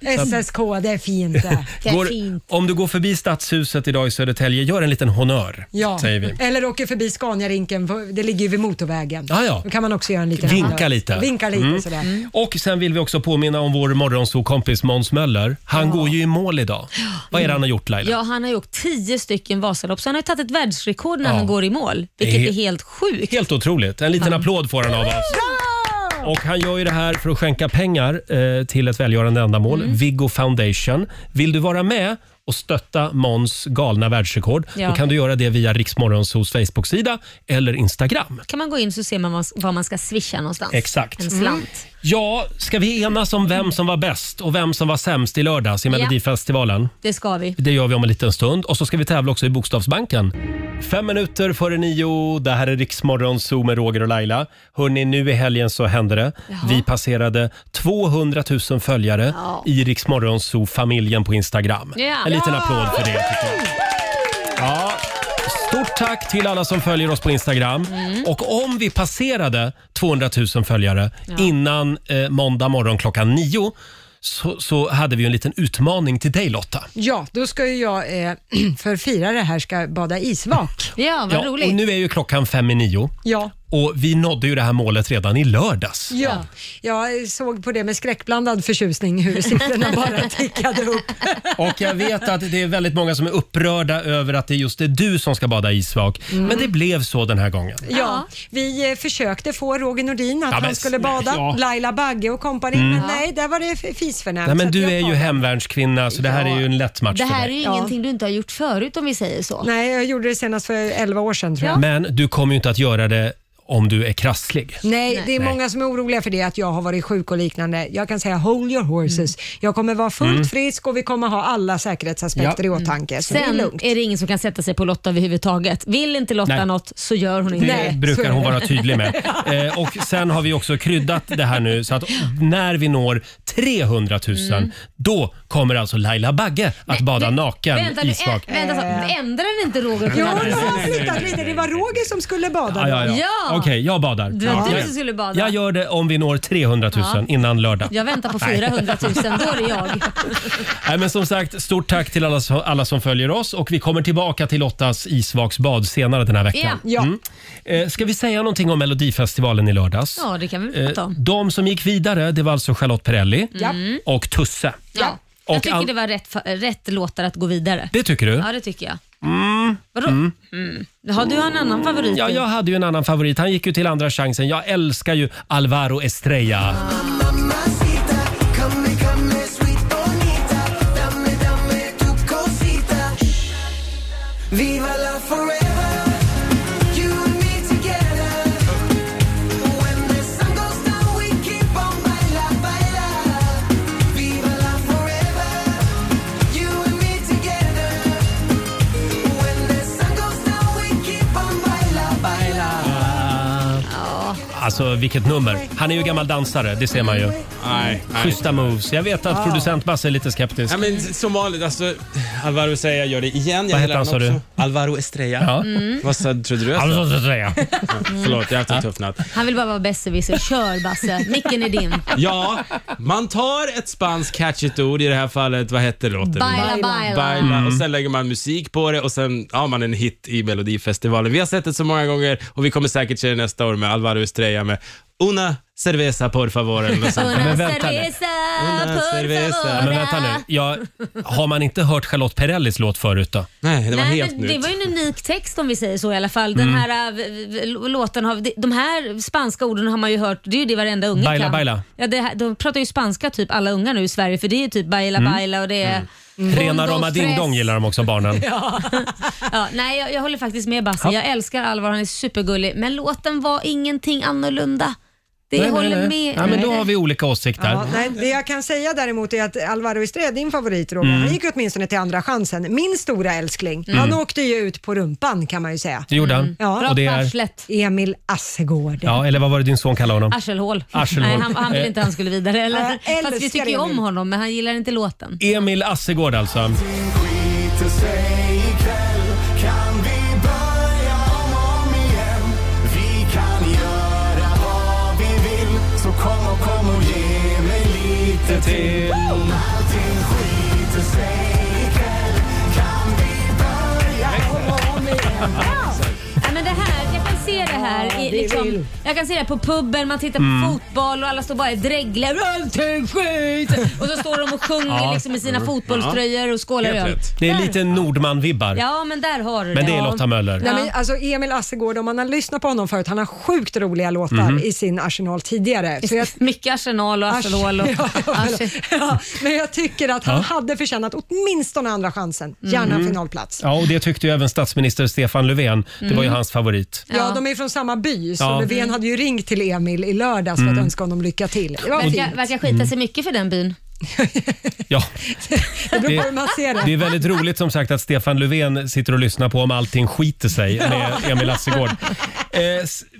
B: Ja, SSK, det är fint det.
A: Går, om du går förbi stadshuset idag i Södertälje, gör en liten honör.
B: Ja.
A: Säger vi.
B: Eller åker förbi Scaniarinken, på- det ligger ju vid motorvägen.
A: Ja, ja.
B: Då kan man också göra en liten
A: Vinka lite.
B: Vinka lite
A: Mm.
B: sådär.
A: Och sen vill vi också påminna om vår morgonsokompis Måns Möller. Han går ju i mål idag. Vad är det han har gjort Laila?
D: Ja, han har ju åkt 10 stycken Vasalopp, så han har ju tagit ett världsrekord när
A: Ja.
D: han går i mål. Vilket
A: Det är-
D: är helt sjukt.
A: Helt otroligt. En liten applåd får han av oss. Och han gör ju det här för att skänka pengar eh, till ett välgörande ändamål,
D: Mm.
A: Viggo Foundation. Vill du vara med och stötta Måns galna världsrekord,
D: Ja.
A: då kan du göra det via Riksmorgonsos Facebook-sida eller Instagram.
D: kan man gå in så ser man vad- vad man ska swisha någonstans.
A: Exakt. Mm.
D: En slant.
A: Ja, ska vi enas om vem som var bäst och vem som var sämst i lördags i
D: Ja.
A: Melodifestivalen?
D: Det ska vi.
A: Det gör vi om en liten stund. Och så ska vi tävla också i Bokstavsbanken. Fem minuter före nio. Det här är Riksmorgon Zoo med Roger och Laila. Hörrni, nu i helgen så hände det. Vi passerade 200 000 följare
E: Ja.
A: i Riksmorgon Zoo-familjen på Instagram.
E: Ja.
A: En liten
E: Ja.
A: applåd för det. tycker jag. Ja. Stort tack till alla som följer oss på Instagram.
E: Mm.
A: Och om vi passerade 200 000 följare
E: Ja.
A: innan eh, måndag morgon klockan nio så, så hade vi ju en liten utmaning till dig Lotta.
B: Ja, då ska ju jag eh, för att fira det här ska jag bada isvak.
D: Ja,
A: Ja, Och nu är ju klockan fem i nio
B: Ja.
A: och vi nådde ju det här målet redan i lördags.
B: Ja, jag eh, såg på det med skräckblandad förtjusning hur siffrorna bara tickade upp.
A: Och jag vet att det är väldigt många som är upprörda över att det just är du som ska bada isvak.
B: Mm.
A: Men det blev så den här gången.
B: Ja, vi eh, försökte få Roger Nordin att
A: Ja, men
B: han skulle
A: snälla,
B: bada,
A: ja.
B: Laila Bagge och kompani,
A: Mm.
B: men
A: Ja.
B: nej, där var det fisförnämt.
A: Nej, men du är ju hemvärnskvinna så det här är ju en lätt match
D: Det
A: för
D: här är
A: dig.
D: ju ingenting du inte har gjort förut om vi säger så.
B: Nej, jag gjorde det senast för 11 år sedan tror jag.
A: Men du kommer ju inte att göra det om du är krasslig.
B: Nej, det är
A: Nej.
B: många som är oroliga för det, att jag har varit sjuk och liknande. Jag kan säga hold your horses. Jag kommer vara fullt
A: Mm.
B: frisk och vi kommer ha alla säkerhetsaspekter
A: Ja.
B: i åtanke. Så
D: Mm. Sen
B: det är
D: är,
B: lugnt.
D: det ingen som kan sätta sig på Lotta överhuvudtaget. Vill inte Lotta
A: Nej.
D: något så gör hon
A: Det
D: inte det.
A: brukar hon vara tydlig med. Eh, och sen har vi också kryddat det här nu så att när vi når 300 000
D: Mm.
A: då kommer alltså Laila Bagge att bada naken
D: Vänta, nu,
A: isvak.
D: ä- vänta, så, ändrar inte Roger på
B: Jo,
D: den här
B: nu har
D: sidan?
B: han flyttat lite. Det var Roger som skulle bada.
A: Ja, ja, ja. Okej, jag badar.
D: Det var du
A: Jag-
D: som skulle bada.
A: Jag gör det om vi når 300 000
D: Ja.
A: innan lördag.
D: Jag väntar på
A: Nej.
D: 400 000, då är det jag.
A: Nej, men som sagt, stort tack till alla, som- alla som följer oss och vi kommer tillbaka till Lottas isvaksbad senare den här veckan.
D: Ja. Ja.
A: Eh, Ska vi säga någonting om Melodifestivalen i lördags?
D: Ja, det kan vi väl prata
A: Eh,
D: om.
A: De som gick vidare det var alltså Charlotte Perrelli
D: Ja. Mm.
A: och Tusse.
D: Ja.
A: Och
D: Jag tycker
A: an-
D: det var rätt, fa- rätt låtar att gå vidare.
A: Det tycker du?
D: Ja, det tycker jag.
A: Mm.
D: Vadå?
A: Mm.
D: Mm. Har du en annan favorit?
A: Ja, jag hade ju en annan favorit. Han gick ju till andra chansen. Jag älskar ju Alvaro Estrella.
E: Come, come, sweet bonita. Dame, dame tu cosita. Viva la forever. You and me together. When the sun goes down, we keep on baila, baila. Viva la forever. You and me together. When the sun goes down, we keep on baila, baila.
A: Alltså vilket nummer. Han är ju gammal dansare, det ser man ju.
F: Nej, nej.
A: Schyssta moves. Jag vet att
F: Ja.
A: producent Basse är lite skeptisk.
F: Ja, men som vanligt, alltså, Alvaro Estrella gör det igen.
A: Vad heter han, sa du?
F: Alvaro Estrella.
A: Ja.
D: Mm.
F: Vad sa, trodde du jag sa?
A: Alvaro Estrella.
F: Förlåt, jag har haft en tuff natt.
D: Han vill bara vara besserwisser. Kör Basse, micken är din.
F: Ja, man tar ett spanskt catchigt ord, i det här fallet, vad hette låten?
D: Baila, baila. Mm.
F: Och sen lägger man musik på det och sen har man en hit i Melodifestivalen. Vi har sett det så många gånger och vi kommer säkert se det nästa år med Alvaro Estrella med Una cerveza por favor. eller något sånt.
D: Una
F: Una cerveza.
A: Men vänta nu. Jag, har man inte hört Charlotte Perrellis låt förut då?
F: Nej,
D: Nej, men det var ju en unik text om vi säger så i alla fall. Den
A: Mm.
D: här äh, v- v- låten har, de- de här spanska orden har man ju hört, det är ju det varenda unge
A: Baila,
D: kan.
A: baila.
D: Ja, det, här- de pratar ju spanska typ alla unga nu i Sverige för det är ju typ baila
A: Mm.
D: baila och det är...
A: Rena
D: Bondo
A: rama
D: stress.
A: ding dong gillar de också barnen.
D: Ja. ja, nej, jag, jag håller faktiskt med Basse.
A: Ja.
D: Jag älskar Alvar, han är supergullig. Men låten var ingenting annorlunda. Det
A: nej,
D: håller
A: nej, nej.
D: med.
A: Ja, men då har vi olika åsikter.
B: Ja, nej, det jag kan säga däremot är att Alvaro Estrada, din favorit Roger,
A: Mm.
B: han gick ju åtminstone till andra chansen. Min stora älskling,
A: Mm.
B: han åkte ju ut på rumpan kan man ju säga.
A: Det gjorde han. Mm.
B: Ja.
A: Och det är-
B: Emil Assegård.
A: Ja, eller vad var det din son kallade honom?
D: Arselhål.
A: Arselhål.
D: Nej, han, han vill
A: Eh.
D: inte han skulle vidare. Eller?
B: Jag älskar
D: Fast vi tycker ju
B: Emil.
D: om honom, men han gillar inte låten.
A: Emil Assegård alltså.
E: skiter sig ikväll kan vi börja om och om igen Vi kan göra vad vi vill Så kom och kom och ge mig lite till Allting skiter sig ikväll kan vi börja om och om igen
D: Nej, men det här, jag kan se det här i,
E: vi
D: liksom,
E: vill.
D: Jag kan se det här på puben, man tittar på
A: Mm.
D: fotboll och alla står bara och dreglar. Allting skit! Och så står de och sjunger
A: Ja.
D: liksom, i sina
A: Mm.
D: fotbollströjor och skålar
A: Helt
D: öl.
A: rätt. Det är
D: Där-
A: lite Nordman-vibbar.
D: Ja, men där har du
A: Men det är Lotta Möller.
B: Nej, men, alltså, Emil Assegård, om man har lyssnat på honom förut, han har sjukt roliga låtar
A: Mhm.
B: i sin arsenal tidigare. Så jag,
D: Mycket Arsenal och
B: Ars-
D: Arsenal. Och,
B: Ja, ja, men jag tycker att han
A: Ja.
B: hade förtjänat åtminstone andra chansen. Gärna
A: Mm.
B: en finalplats.
A: Ja, och det tyckte ju även statsminister Stefan Löfven. Det var ju
B: Mm.
A: hans favorit.
B: Ja, de är från samma by, så
A: Ja.
B: Löfven hade ju ringt till Emil i lördags för
A: Mm.
B: att önska honom lycka till. Det var
D: Verkar,
B: fint.
D: verkar skita sig mycket för den byn.
A: Ja.
B: Det beror på
A: Det-
B: hur man ser det.
A: Det är väldigt roligt som sagt att Stefan Löfven sitter och lyssnar på om allting skiter sig med
B: Ja.
A: Emil Lassegård.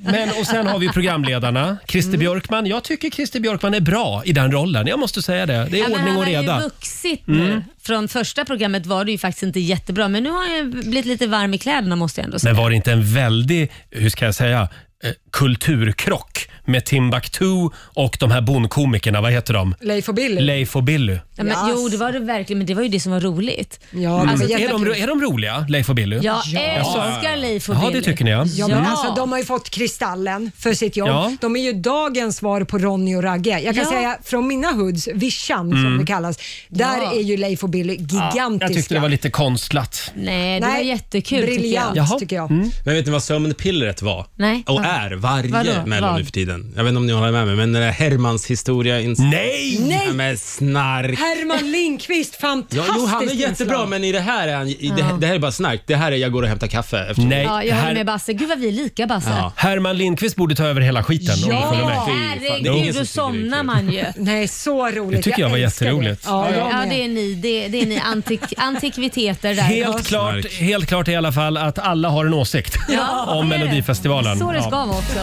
A: Men och sen har vi programledarna. Christer
D: Mm.
A: Björkman. Jag tycker Christer Björkman är bra i den rollen. Jag måste säga det. Det är
D: Ja, men
A: ordning och
D: Han har
A: reda.
D: ju vuxit nu.
A: Mm.
D: Från första programmet var det ju faktiskt inte jättebra, men nu har han ju blivit lite varm i kläderna måste jag ändå säga.
A: Men var det inte en väldig, hur ska jag säga, eh, kulturkrock med Timbuktu och de här bondkomikerna, vad heter de?
B: Leif och Billy.
A: Leif och Billy.
D: Ja, men, Jo, det var det verkligen, men det var ju det som var roligt. Alltså,
B: Ja,
A: Mm. är, de, är de roliga, Leif och Billy?
D: Jag
A: Jaså?
D: älskar Leif och
A: Ja,
D: Billy.
A: det tycker ni ja.
B: Ja, men
A: Mm.
B: alltså, de har ju fått Kristallen för sitt jobb.
A: Ja.
B: De är ju dagens svar på Ronny och Ragge. Jag kan
D: Ja.
B: säga från mina hoods, Vischan som
A: Mm.
B: det kallas, där
D: Ja.
B: är ju Leif och Billy gigantiska.
A: Jag tyckte det var lite konstlat.
D: Nej, det var jättekul
B: briljant,
D: tycker jag.
B: tycker jag.
A: Mm.
F: Men vet ni vad sömnpillret var?
D: Nej.
F: Och är varje
D: Vadå?
F: Mello
D: Vad?
F: nu för tiden. Jag vet inte om ni håller med mig, men den där Hermans historia... Ins-
A: Nej!
B: Nej!
F: Ja, men snark.
B: Herman Lindqvist,
F: Ja,
B: fantastiskt
F: jo, han är
B: inslag.
F: jättebra, men i det här är han... I det,
D: Ja.
F: det här är bara snark. Det här är jag går och hämtar kaffe. Efter.
A: Nej,
D: Ja, jag håller med Basse. Gud vad vi är lika Basse.
A: Ja. Herman Lindqvist borde ta över hela skiten. om du följer
D: Ja,
A: med.
D: herregud, då somnar man ju.
B: Nej, så roligt.
A: Det tycker jag var
B: älskar det.
A: jätteroligt.
B: Ja, jag
D: Ja,
B: med.
D: det är ni, det, det är ni antik, antikviteter där.
A: Helt klart, helt klart i alla fall att alla har en åsikt
D: Ja,
A: om
D: det är det.
A: Melodifestivalen.
D: Så det ska
A: Ja.
D: vara också.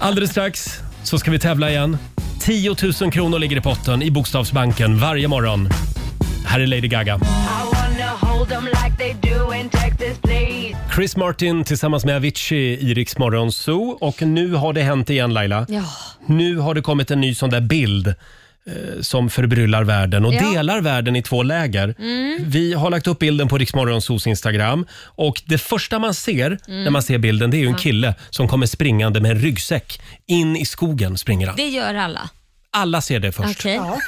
A: Alldeles strax så ska vi tävla igen. 10 000 kronor ligger i potten i Bokstavsbanken varje morgon. Här är Lady Gaga. Chris Martin tillsammans med Avicii i Rix Morgon Zoo. Och nu har det hänt igen Laila.
D: Ja.
A: Nu har det kommit en ny sån där bild eh, som förbryllar världen och
D: Ja.
A: delar världen i två läger.
D: Mm.
A: Vi har lagt upp bilden på Rix Morgon Zoos Instagram och det första man ser
D: Mm.
A: när man ser bilden det är ju en
D: Ja.
A: kille som kommer springande med en ryggsäck. In i skogen springer han.
D: Det gör alla.
A: Alla ser det först.
D: Okej. Ja.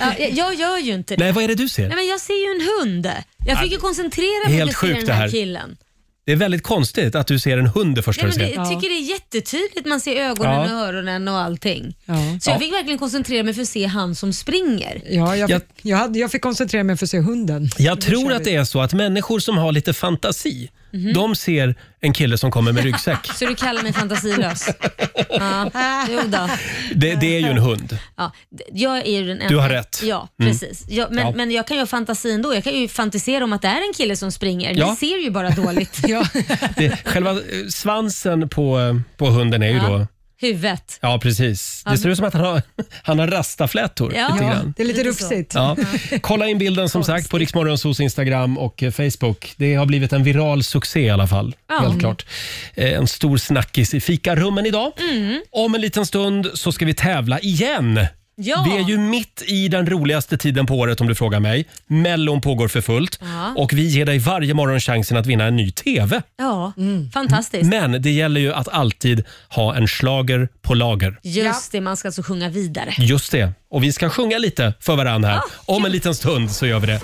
D: Ja, jag- jag gör ju inte det.
A: Nej, vad är det du ser?
D: Nej, men jag ser ju en hund. Jag fick ju koncentrera mig
A: Helt
D: på att se
A: sjukt
D: den
A: det
D: här,
A: här.
D: killen.
A: Det är väldigt konstigt att du ser en hund det första
D: Nej, men
A: du
D: det,
A: ser.
D: jag tycker det är jättetydligt. Man ser ögonen
A: Ja.
D: och öronen och allting. Så
A: Ja.
D: jag fick verkligen koncentrera mig för att se han som springer.
B: Ja, jag, fick, jag, hade, jag fick koncentrera mig för att se hunden.
A: Jag tror att det är så att människor som har lite fantasi,
D: Mhm.
A: de ser en kille som kommer med ryggsäck.
D: Så du kallar mig fantasilös? ja, jo då.
A: Det, det är ju en hund.
D: Ja, d- jag är ju den enda.
A: Du har rätt.
D: Ja,
A: Mm.
D: precis. Jag, men,
A: Ja.
D: men jag kan ju ha fantasin då. Jag kan ju fantisera om att det är en kille som springer.
A: Ja.
D: Ni ser ju bara dåligt.
A: Det, själva eh, svansen på, eh, på hunden är ju
D: Ja.
A: då...
D: Huvudet.
A: Ja, precis. Det
D: Ja.
A: ser ut som att han har, han har rastaflätor.
D: Ja,
A: lite grann.
B: det är lite
D: så.
B: rufsigt.
A: Ja. Kolla in bilden som sagt på Riksmorgonsos Instagram och eh, Facebook. Det har blivit en viral succé i alla fall.
D: Ja.
A: Helt klart. Eh, En stor snackis i fikarummen idag. Om en liten stund så ska vi tävla igen.
D: Ja.
A: Vi är ju mitt i den roligaste tiden på året om du frågar mig. Mellon pågår för fullt
D: Ja.
A: och vi ger dig varje morgon chansen att vinna en ny TV.
D: Ja, fantastiskt.
A: Men det gäller ju att alltid ha en slager på lager.
D: Just det, man ska alltså sjunga vidare.
B: Ah,
A: Just det. Och vi ska sjunga lite för varandra här. Om en liten stund så gör vi det.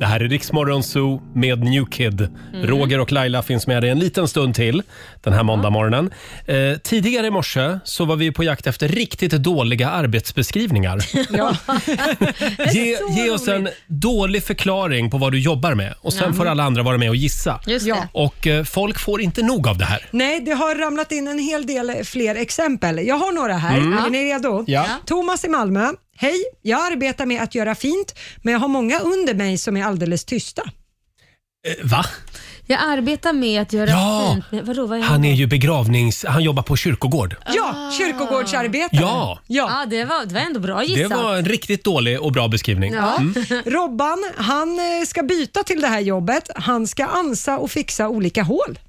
A: Det här är Riksmorgon Zoo med New Kid.
B: Mm.
A: Roger och Laila finns med dig en liten stund till den här
B: Ah.
A: måndagmorgonen. Eh, tidigare i morse så var vi på jakt efter riktigt dåliga arbetsbeskrivningar.
B: Ja.
A: Ge, ge oss en dålig förklaring på vad du jobbar med och sen
B: Ja.
A: får alla andra vara med och gissa.
B: Just det. Ja.
A: Och eh, folk får inte nog av det här.
B: Nej, det har ramlat in en hel del fler exempel. Jag har några här.
A: Mm.
B: Är ni redo?
A: Ja.
B: Thomas i Malmö. Hej, jag arbetar med att göra fint, men jag har många under mig som är alldeles tysta.
A: Va?
D: Jag arbetar med att göra
A: Ja.
D: fint. Men Vadå, vad är
A: Han är ju begravnings... Han jobbar på kyrkogård.
B: Ja, kyrkogårdsarbetare.
A: Ja.
B: ja.
D: det, var, det var ändå bra
A: Det
D: gissat.
A: var en riktigt dålig och bra beskrivning.
B: Ja.
A: Mm.
B: Robban, han eh, ska byta till det här jobbet. Han ska ansa och fixa olika hål.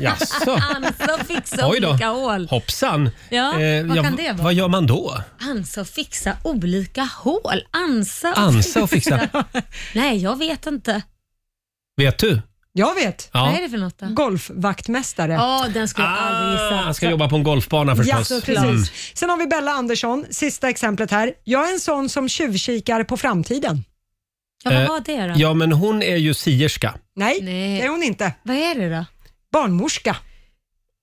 A: Jaså?
D: Ansa och fixa Alltså, olika hål.
A: Hoppsan. Eh,
D: Ja, vad kan det vara?
A: Vad gör man då?
D: Ansa och fixa olika hål. Ansa och
A: Ansa och fixa.
D: Nej, jag vet inte.
A: Vet du?
B: Jag vet.
A: Ja.
D: Vad är det för något då?
B: Golfvaktmästare.
D: Ja, den skulle jag aldrig gissa.
A: Ah, Han ska jobba på en golfbana förstås. Mm.
B: Ja, precis. Sen har vi Bella Andersson, sista exemplet här. Jag är en sån som tjuvkikar på framtiden.
A: Eh, Ja, men hon är ju sierska.
B: Nej, det är hon inte.
D: Vad är det då?
B: Barnmorska.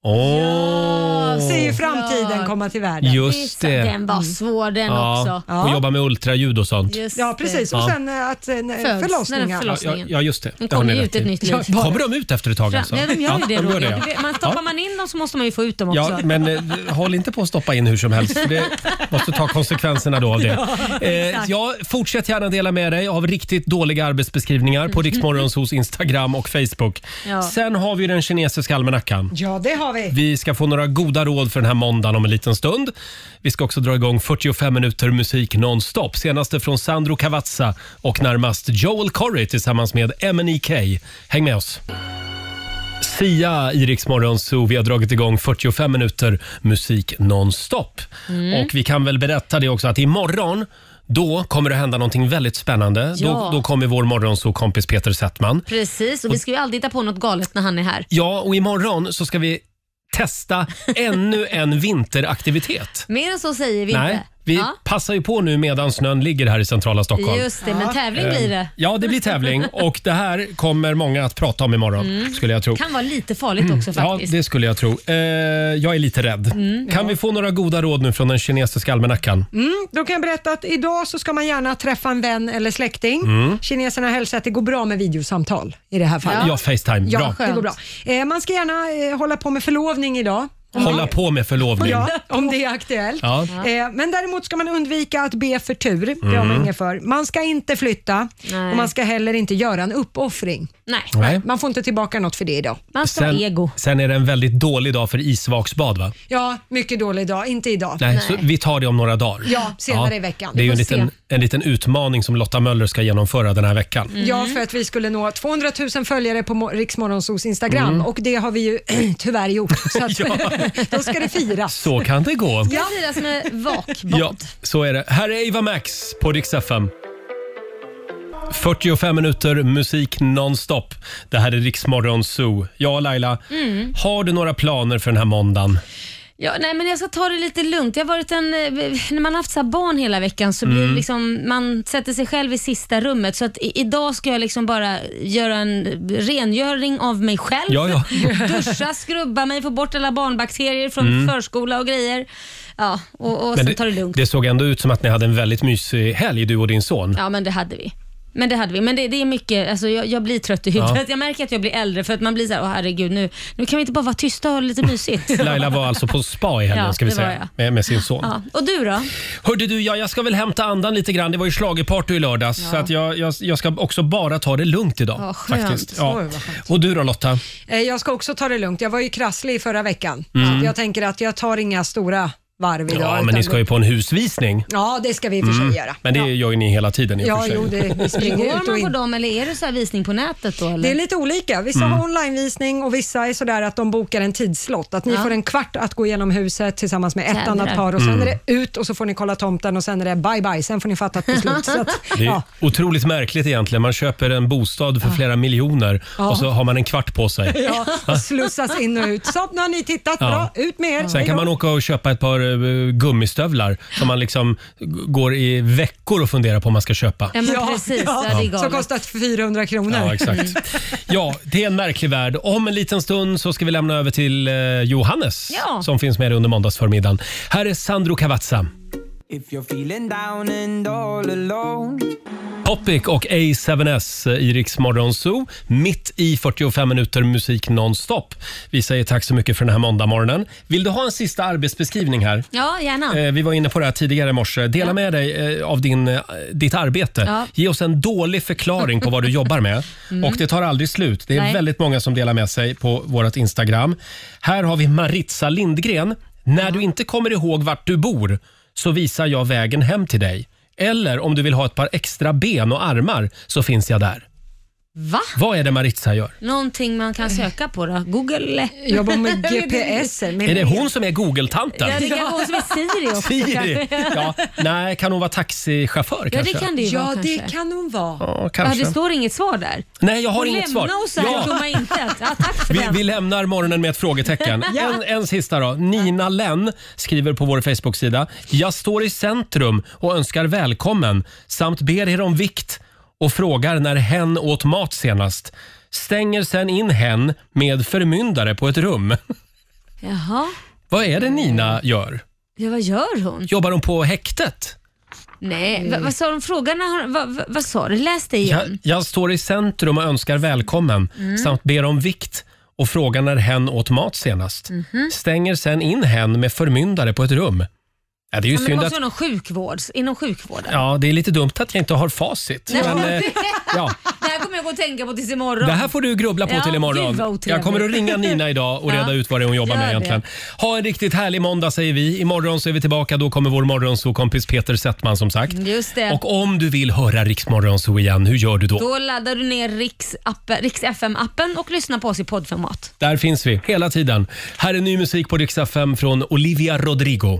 A: Åh!
B: Ser ju framtiden komma till världen.
A: Just det.
D: Den var svår den
A: ja.
D: också.
A: Och jobba med ultraljud och sånt.
B: ja, precis. Och
A: Ja.
B: sen eh, att, eh,
D: när
B: förlossningar.
A: Ja, ja, just det.
D: De
A: Det har
D: kommer
A: ni
D: ju
A: rätt
D: ut ett
A: i.
D: nytt liv.
A: Ja, Kommer de ut efter ett tag
D: Fram-
A: alltså?
D: Nej, de gör ju det,
A: de gör
D: Roger.
A: ja.
D: Du vet, Man stoppar man in dem så måste man ju få ut dem också.
A: Ja, men eh, håll inte på att stoppa in hur som helst. För det måste ta konsekvenserna då av det.
D: Ja,
A: Eh,
D: exakt.
A: ja, fortsätt gärna dela med dig av riktigt dåliga arbetsbeskrivningar på Riksmorgons hos Instagram och Facebook.
B: Ja.
A: Sen har vi den kinesiska almanackan.
B: Ja, det har vi.
A: Vi ska få några goda råd för den här måndagen om en liten stund. Vi ska också dra igång 45 minuter musik nonstop. Senaste från Sandro Cavazza och närmast Joel Corry tillsammans med MNEK. Häng med oss! Sia i Rix Morgon Zoo. Vi har dragit igång 45 minuter musik nonstop.
E: Mm.
A: Och vi kan väl berätta det också att imorgon då kommer det hända någonting väldigt spännande.
D: Ja.
A: Då, då kommer vår morgonsokompis Peter Settman.
D: Precis, och vi ska ju alltid hitta på något galet när han är här.
A: Ja, och imorgon så ska vi testa ännu en vinteraktivitet.
D: Mer än så säger vi
A: Nej,
D: inte.
A: vi
D: Ja.
A: passar ju på nu medan snön ligger här i centrala Stockholm.
D: Just det, men tävling blir det.
A: Eh, Ja, det blir tävling och det här kommer många att prata om imorgon
D: Mm.
A: skulle jag tro. Mm.
D: Kan vara lite farligt också
A: Ja,
D: faktiskt.
A: det skulle jag tro. Eh, jag är lite rädd.
B: Mm.
A: kan vi få några goda råd nu från den kinesiska almanackan?
B: Mm, då kan jag berätta att idag så ska man gärna träffa en vän eller släkting.
A: Mm.
B: Kineserna hälsar att det går bra med videosamtal i det här fallet.
A: Ja, Facetime.
B: Ja,
A: Bra.
B: det går bra. Eh, man ska gärna eh, hålla på med förlovning idag. Om
A: Hålla
B: det-
A: på med förlovning.
B: Ja, om det är aktuellt.
A: Ja.
B: Eh, men däremot ska man undvika att be för tur. Det har man
A: Mm.
B: inget för. Man ska inte flytta
D: Nej.
B: och man ska heller inte göra en uppoffring.
D: Nej.
A: Nej.
B: Man får inte tillbaka något för det idag.
A: sen är det en väldigt dålig dag för isvaksbad va?
B: Ja, mycket dålig dag. Inte idag.
A: Nej, Så vi tar det om några dagar.
B: Ja, senare i veckan.
A: Det är ju en
B: Vi får
A: liten, en liten utmaning som Lotta Möller ska genomföra den här veckan.
D: Mm.
B: Ja, för att vi skulle nå 200 000 följare på Mo- Rix Morgonzos Instagram
A: Mm.
B: och det har vi ju tyvärr gjort. Så att, då ska det firas.
A: Så kan det gå.
D: Ska firas med vak.
A: Ja, så är det. Här är Eva Max på Rix FM. 45 minuter musik nonstop. Det här är Rix Morgon Zoo. Ja, Laila.
D: Mm.
A: Har du några planer för den här måndagen?
D: Ja, nej, men jag ska ta det lite lugnt. Jag har varit en, eh, när man har haft så här barn hela veckan så blir det
A: Mm.
D: liksom, man sätter sig själv i sista rummet. Så att i, idag ska jag liksom bara göra en rengöring av mig själv.
A: Ja, ja.
D: Duscha, skrubba mig, få bort alla barnbakterier från
A: Mm.
D: förskola och grejer. Ja, och, och
A: Men
D: sen ta det lugnt.
A: det såg ändå ut som att ni hade en väldigt mysig helg, du och din son.
D: Ja, men det hade vi. Men det hade vi. Men det, det är mycket, alltså jag, jag blir trött i huvudet.
A: Ja.
D: Jag märker att jag blir äldre för att man blir så här, åh herregud nu, nu kan vi inte bara vara tysta och ha lite mysigt.
A: Laila var alltså på spa i helgen
D: Ja,
A: ska vi
D: det var
A: säga,
D: jag.
A: med, med sin son.
D: Ja. Och du då?
A: Hörde du, ja, jag ska väl hämta andan lite grann. Det var ju schlagerparty i lördags så att jag, jag, jag ska också bara ta det lugnt idag.
B: Ja, skönt.
A: Faktiskt.
B: Oj,
A: Ja.
B: vad skönt.
A: Och du då Lotta?
B: Eh, Jag ska också ta det lugnt. Jag var ju krasslig i förra veckan.
A: Mm.
B: Så Jag tänker att jag tar inga stora varv idag.
A: Ja, men
B: utan
A: ni ska ju på en husvisning.
B: Ja, det ska vi i och för sig
A: Mm.
B: göra.
A: Men det gör ju ni hela tiden i och
B: Ja,
A: för sig.
B: jo, det- vi springer ut och
D: Går man på
B: in.
D: dem eller är det så här visning på nätet då? Eller?
B: Det är lite olika. Vissa
A: Mm.
B: har onlinevisning och vissa är sådär att de bokar en tidslott. Att ni
D: Ja.
B: får en kvart att gå igenom huset tillsammans med ett
D: Jädrar.
B: annat par och sen
A: Mm.
B: är det ut och så får ni kolla tomten och sen är det bye bye. Sen får ni fatta ett beslut. Så att,
A: Det är
B: ja.
A: otroligt märkligt egentligen. Man köper en bostad för flera miljoner
B: Ja.
A: och så har man en kvart på sig.
B: Ja, och slussas in och ut. Så nu har ni tittat,
A: Ja.
B: bra, ut med er.
A: Sen
B: Hej
A: kan
B: då.
A: man åka och köpa ett par eh, gummistövlar som man liksom g- går i veckor och funderar på om man ska köpa.
D: Ja, men precis. Ja, det är galet.
B: som kostat 400 kronor. Mm.
A: Ja, exakt. Ja, det är en märklig värld. Om en liten stund så ska vi lämna över till eh, Johannes
O: Ja.
A: som finns med under måndagsförmiddagen. Här är Sandro Cavazza.
O: If you're feeling down and all alone
A: Topic och A7S eh, i Rix Morgon Zoo. Mitt i 45 minuter musik nonstop. Vi säger tack så mycket för den här måndagmorgonen. Vill du ha en sista arbetsbeskrivning här?
D: Ja, gärna.
A: Eh, Vi var inne på det här tidigare i morse. Dela med dig eh, av din, eh, ditt arbete.
D: Ja.
A: Ge oss en dålig förklaring på vad du jobbar med.
D: Mm.
A: Och Det tar aldrig slut. Det är
D: Nej.
A: väldigt många som delar med sig på vårt Instagram. Här har vi Maritza Lindgren. När du inte kommer ihåg vart du bor så visar jag vägen hem till dig. Eller om du vill ha ett par extra ben och armar så finns jag där.
D: Va?
A: Vad är det Maritza gör?
D: Någonting man kan söka på då? Google?
B: Jobbar med GPS -er,
A: Är det hon som är Google-tanten?
D: Ja, det kanske hon som är Siri också.
A: Siri?
D: kanske.
A: Ja, nej, kan hon vara taxichaufför
D: Ja,
A: kanske?
D: det kan det ju vara kanske.
B: kan hon vara.
A: Ja, kanske.
D: det står inget svar där.
A: Nej, jag har
D: Hon
A: inget svar.
D: Lämna oss här
A: Ja.
D: ja. tomma intet. Ja, tack för
A: Vi,
D: den.
A: vi lämnar morgonen med ett frågetecken.
D: Ja.
A: en, en sista då. Nina Lenn skriver på vår Facebook-sida. Jag står i centrum och önskar välkommen samt ber er om vikt och frågar när hen åt mat senast. Stänger sen in hen med förmyndare på ett rum.
D: Jaha,
A: Vad är det Nina gör?
D: ja, vad gör hon?
A: Jobbar hon på häktet?
D: Nej, va, vad sa de frågan? när hon- Vad va, vad sa du? Läs det igen.
A: Jag, jag står i centrum och önskar välkommen
D: Mm.
A: samt ber om vikt och frågar när hen åt mat senast.
D: Mhm.
A: Stänger sen in hen med förmyndare på ett rum. Ja, det är ju
D: Ja, men det
A: synd
D: måste
A: att...
D: vara någon sjukvårds, inom sjukvården.
A: Ja, det är lite dumt att jag inte har facit.
D: Nej.
A: Men, eh, ja.
D: Det här kommer jag gå och tänka på tills imorgon.
A: Det här får du grubbla på
D: Ja,
A: till
D: gud vad
A: imorgon.
D: otrevligt.
A: Jag kommer att ringa Nina idag och
D: Ja.
A: reda ut vad det är hon jobbar
D: Gör
A: med
D: det.
A: egentligen. Ha en riktigt härlig måndag säger vi. Imorgon så är vi tillbaka. Då kommer vår morgonsåkompis Peter Settman som sagt.
D: Just det.
A: Och om du vill höra Riksmorgonso igen, hur gör du
D: Då laddar du ner Riks, app, Riks FM-appen och lyssnar på oss i poddformat.
A: Där finns vi hela tiden. Här är ny musik på Rix FM från Olivia Rodrigo.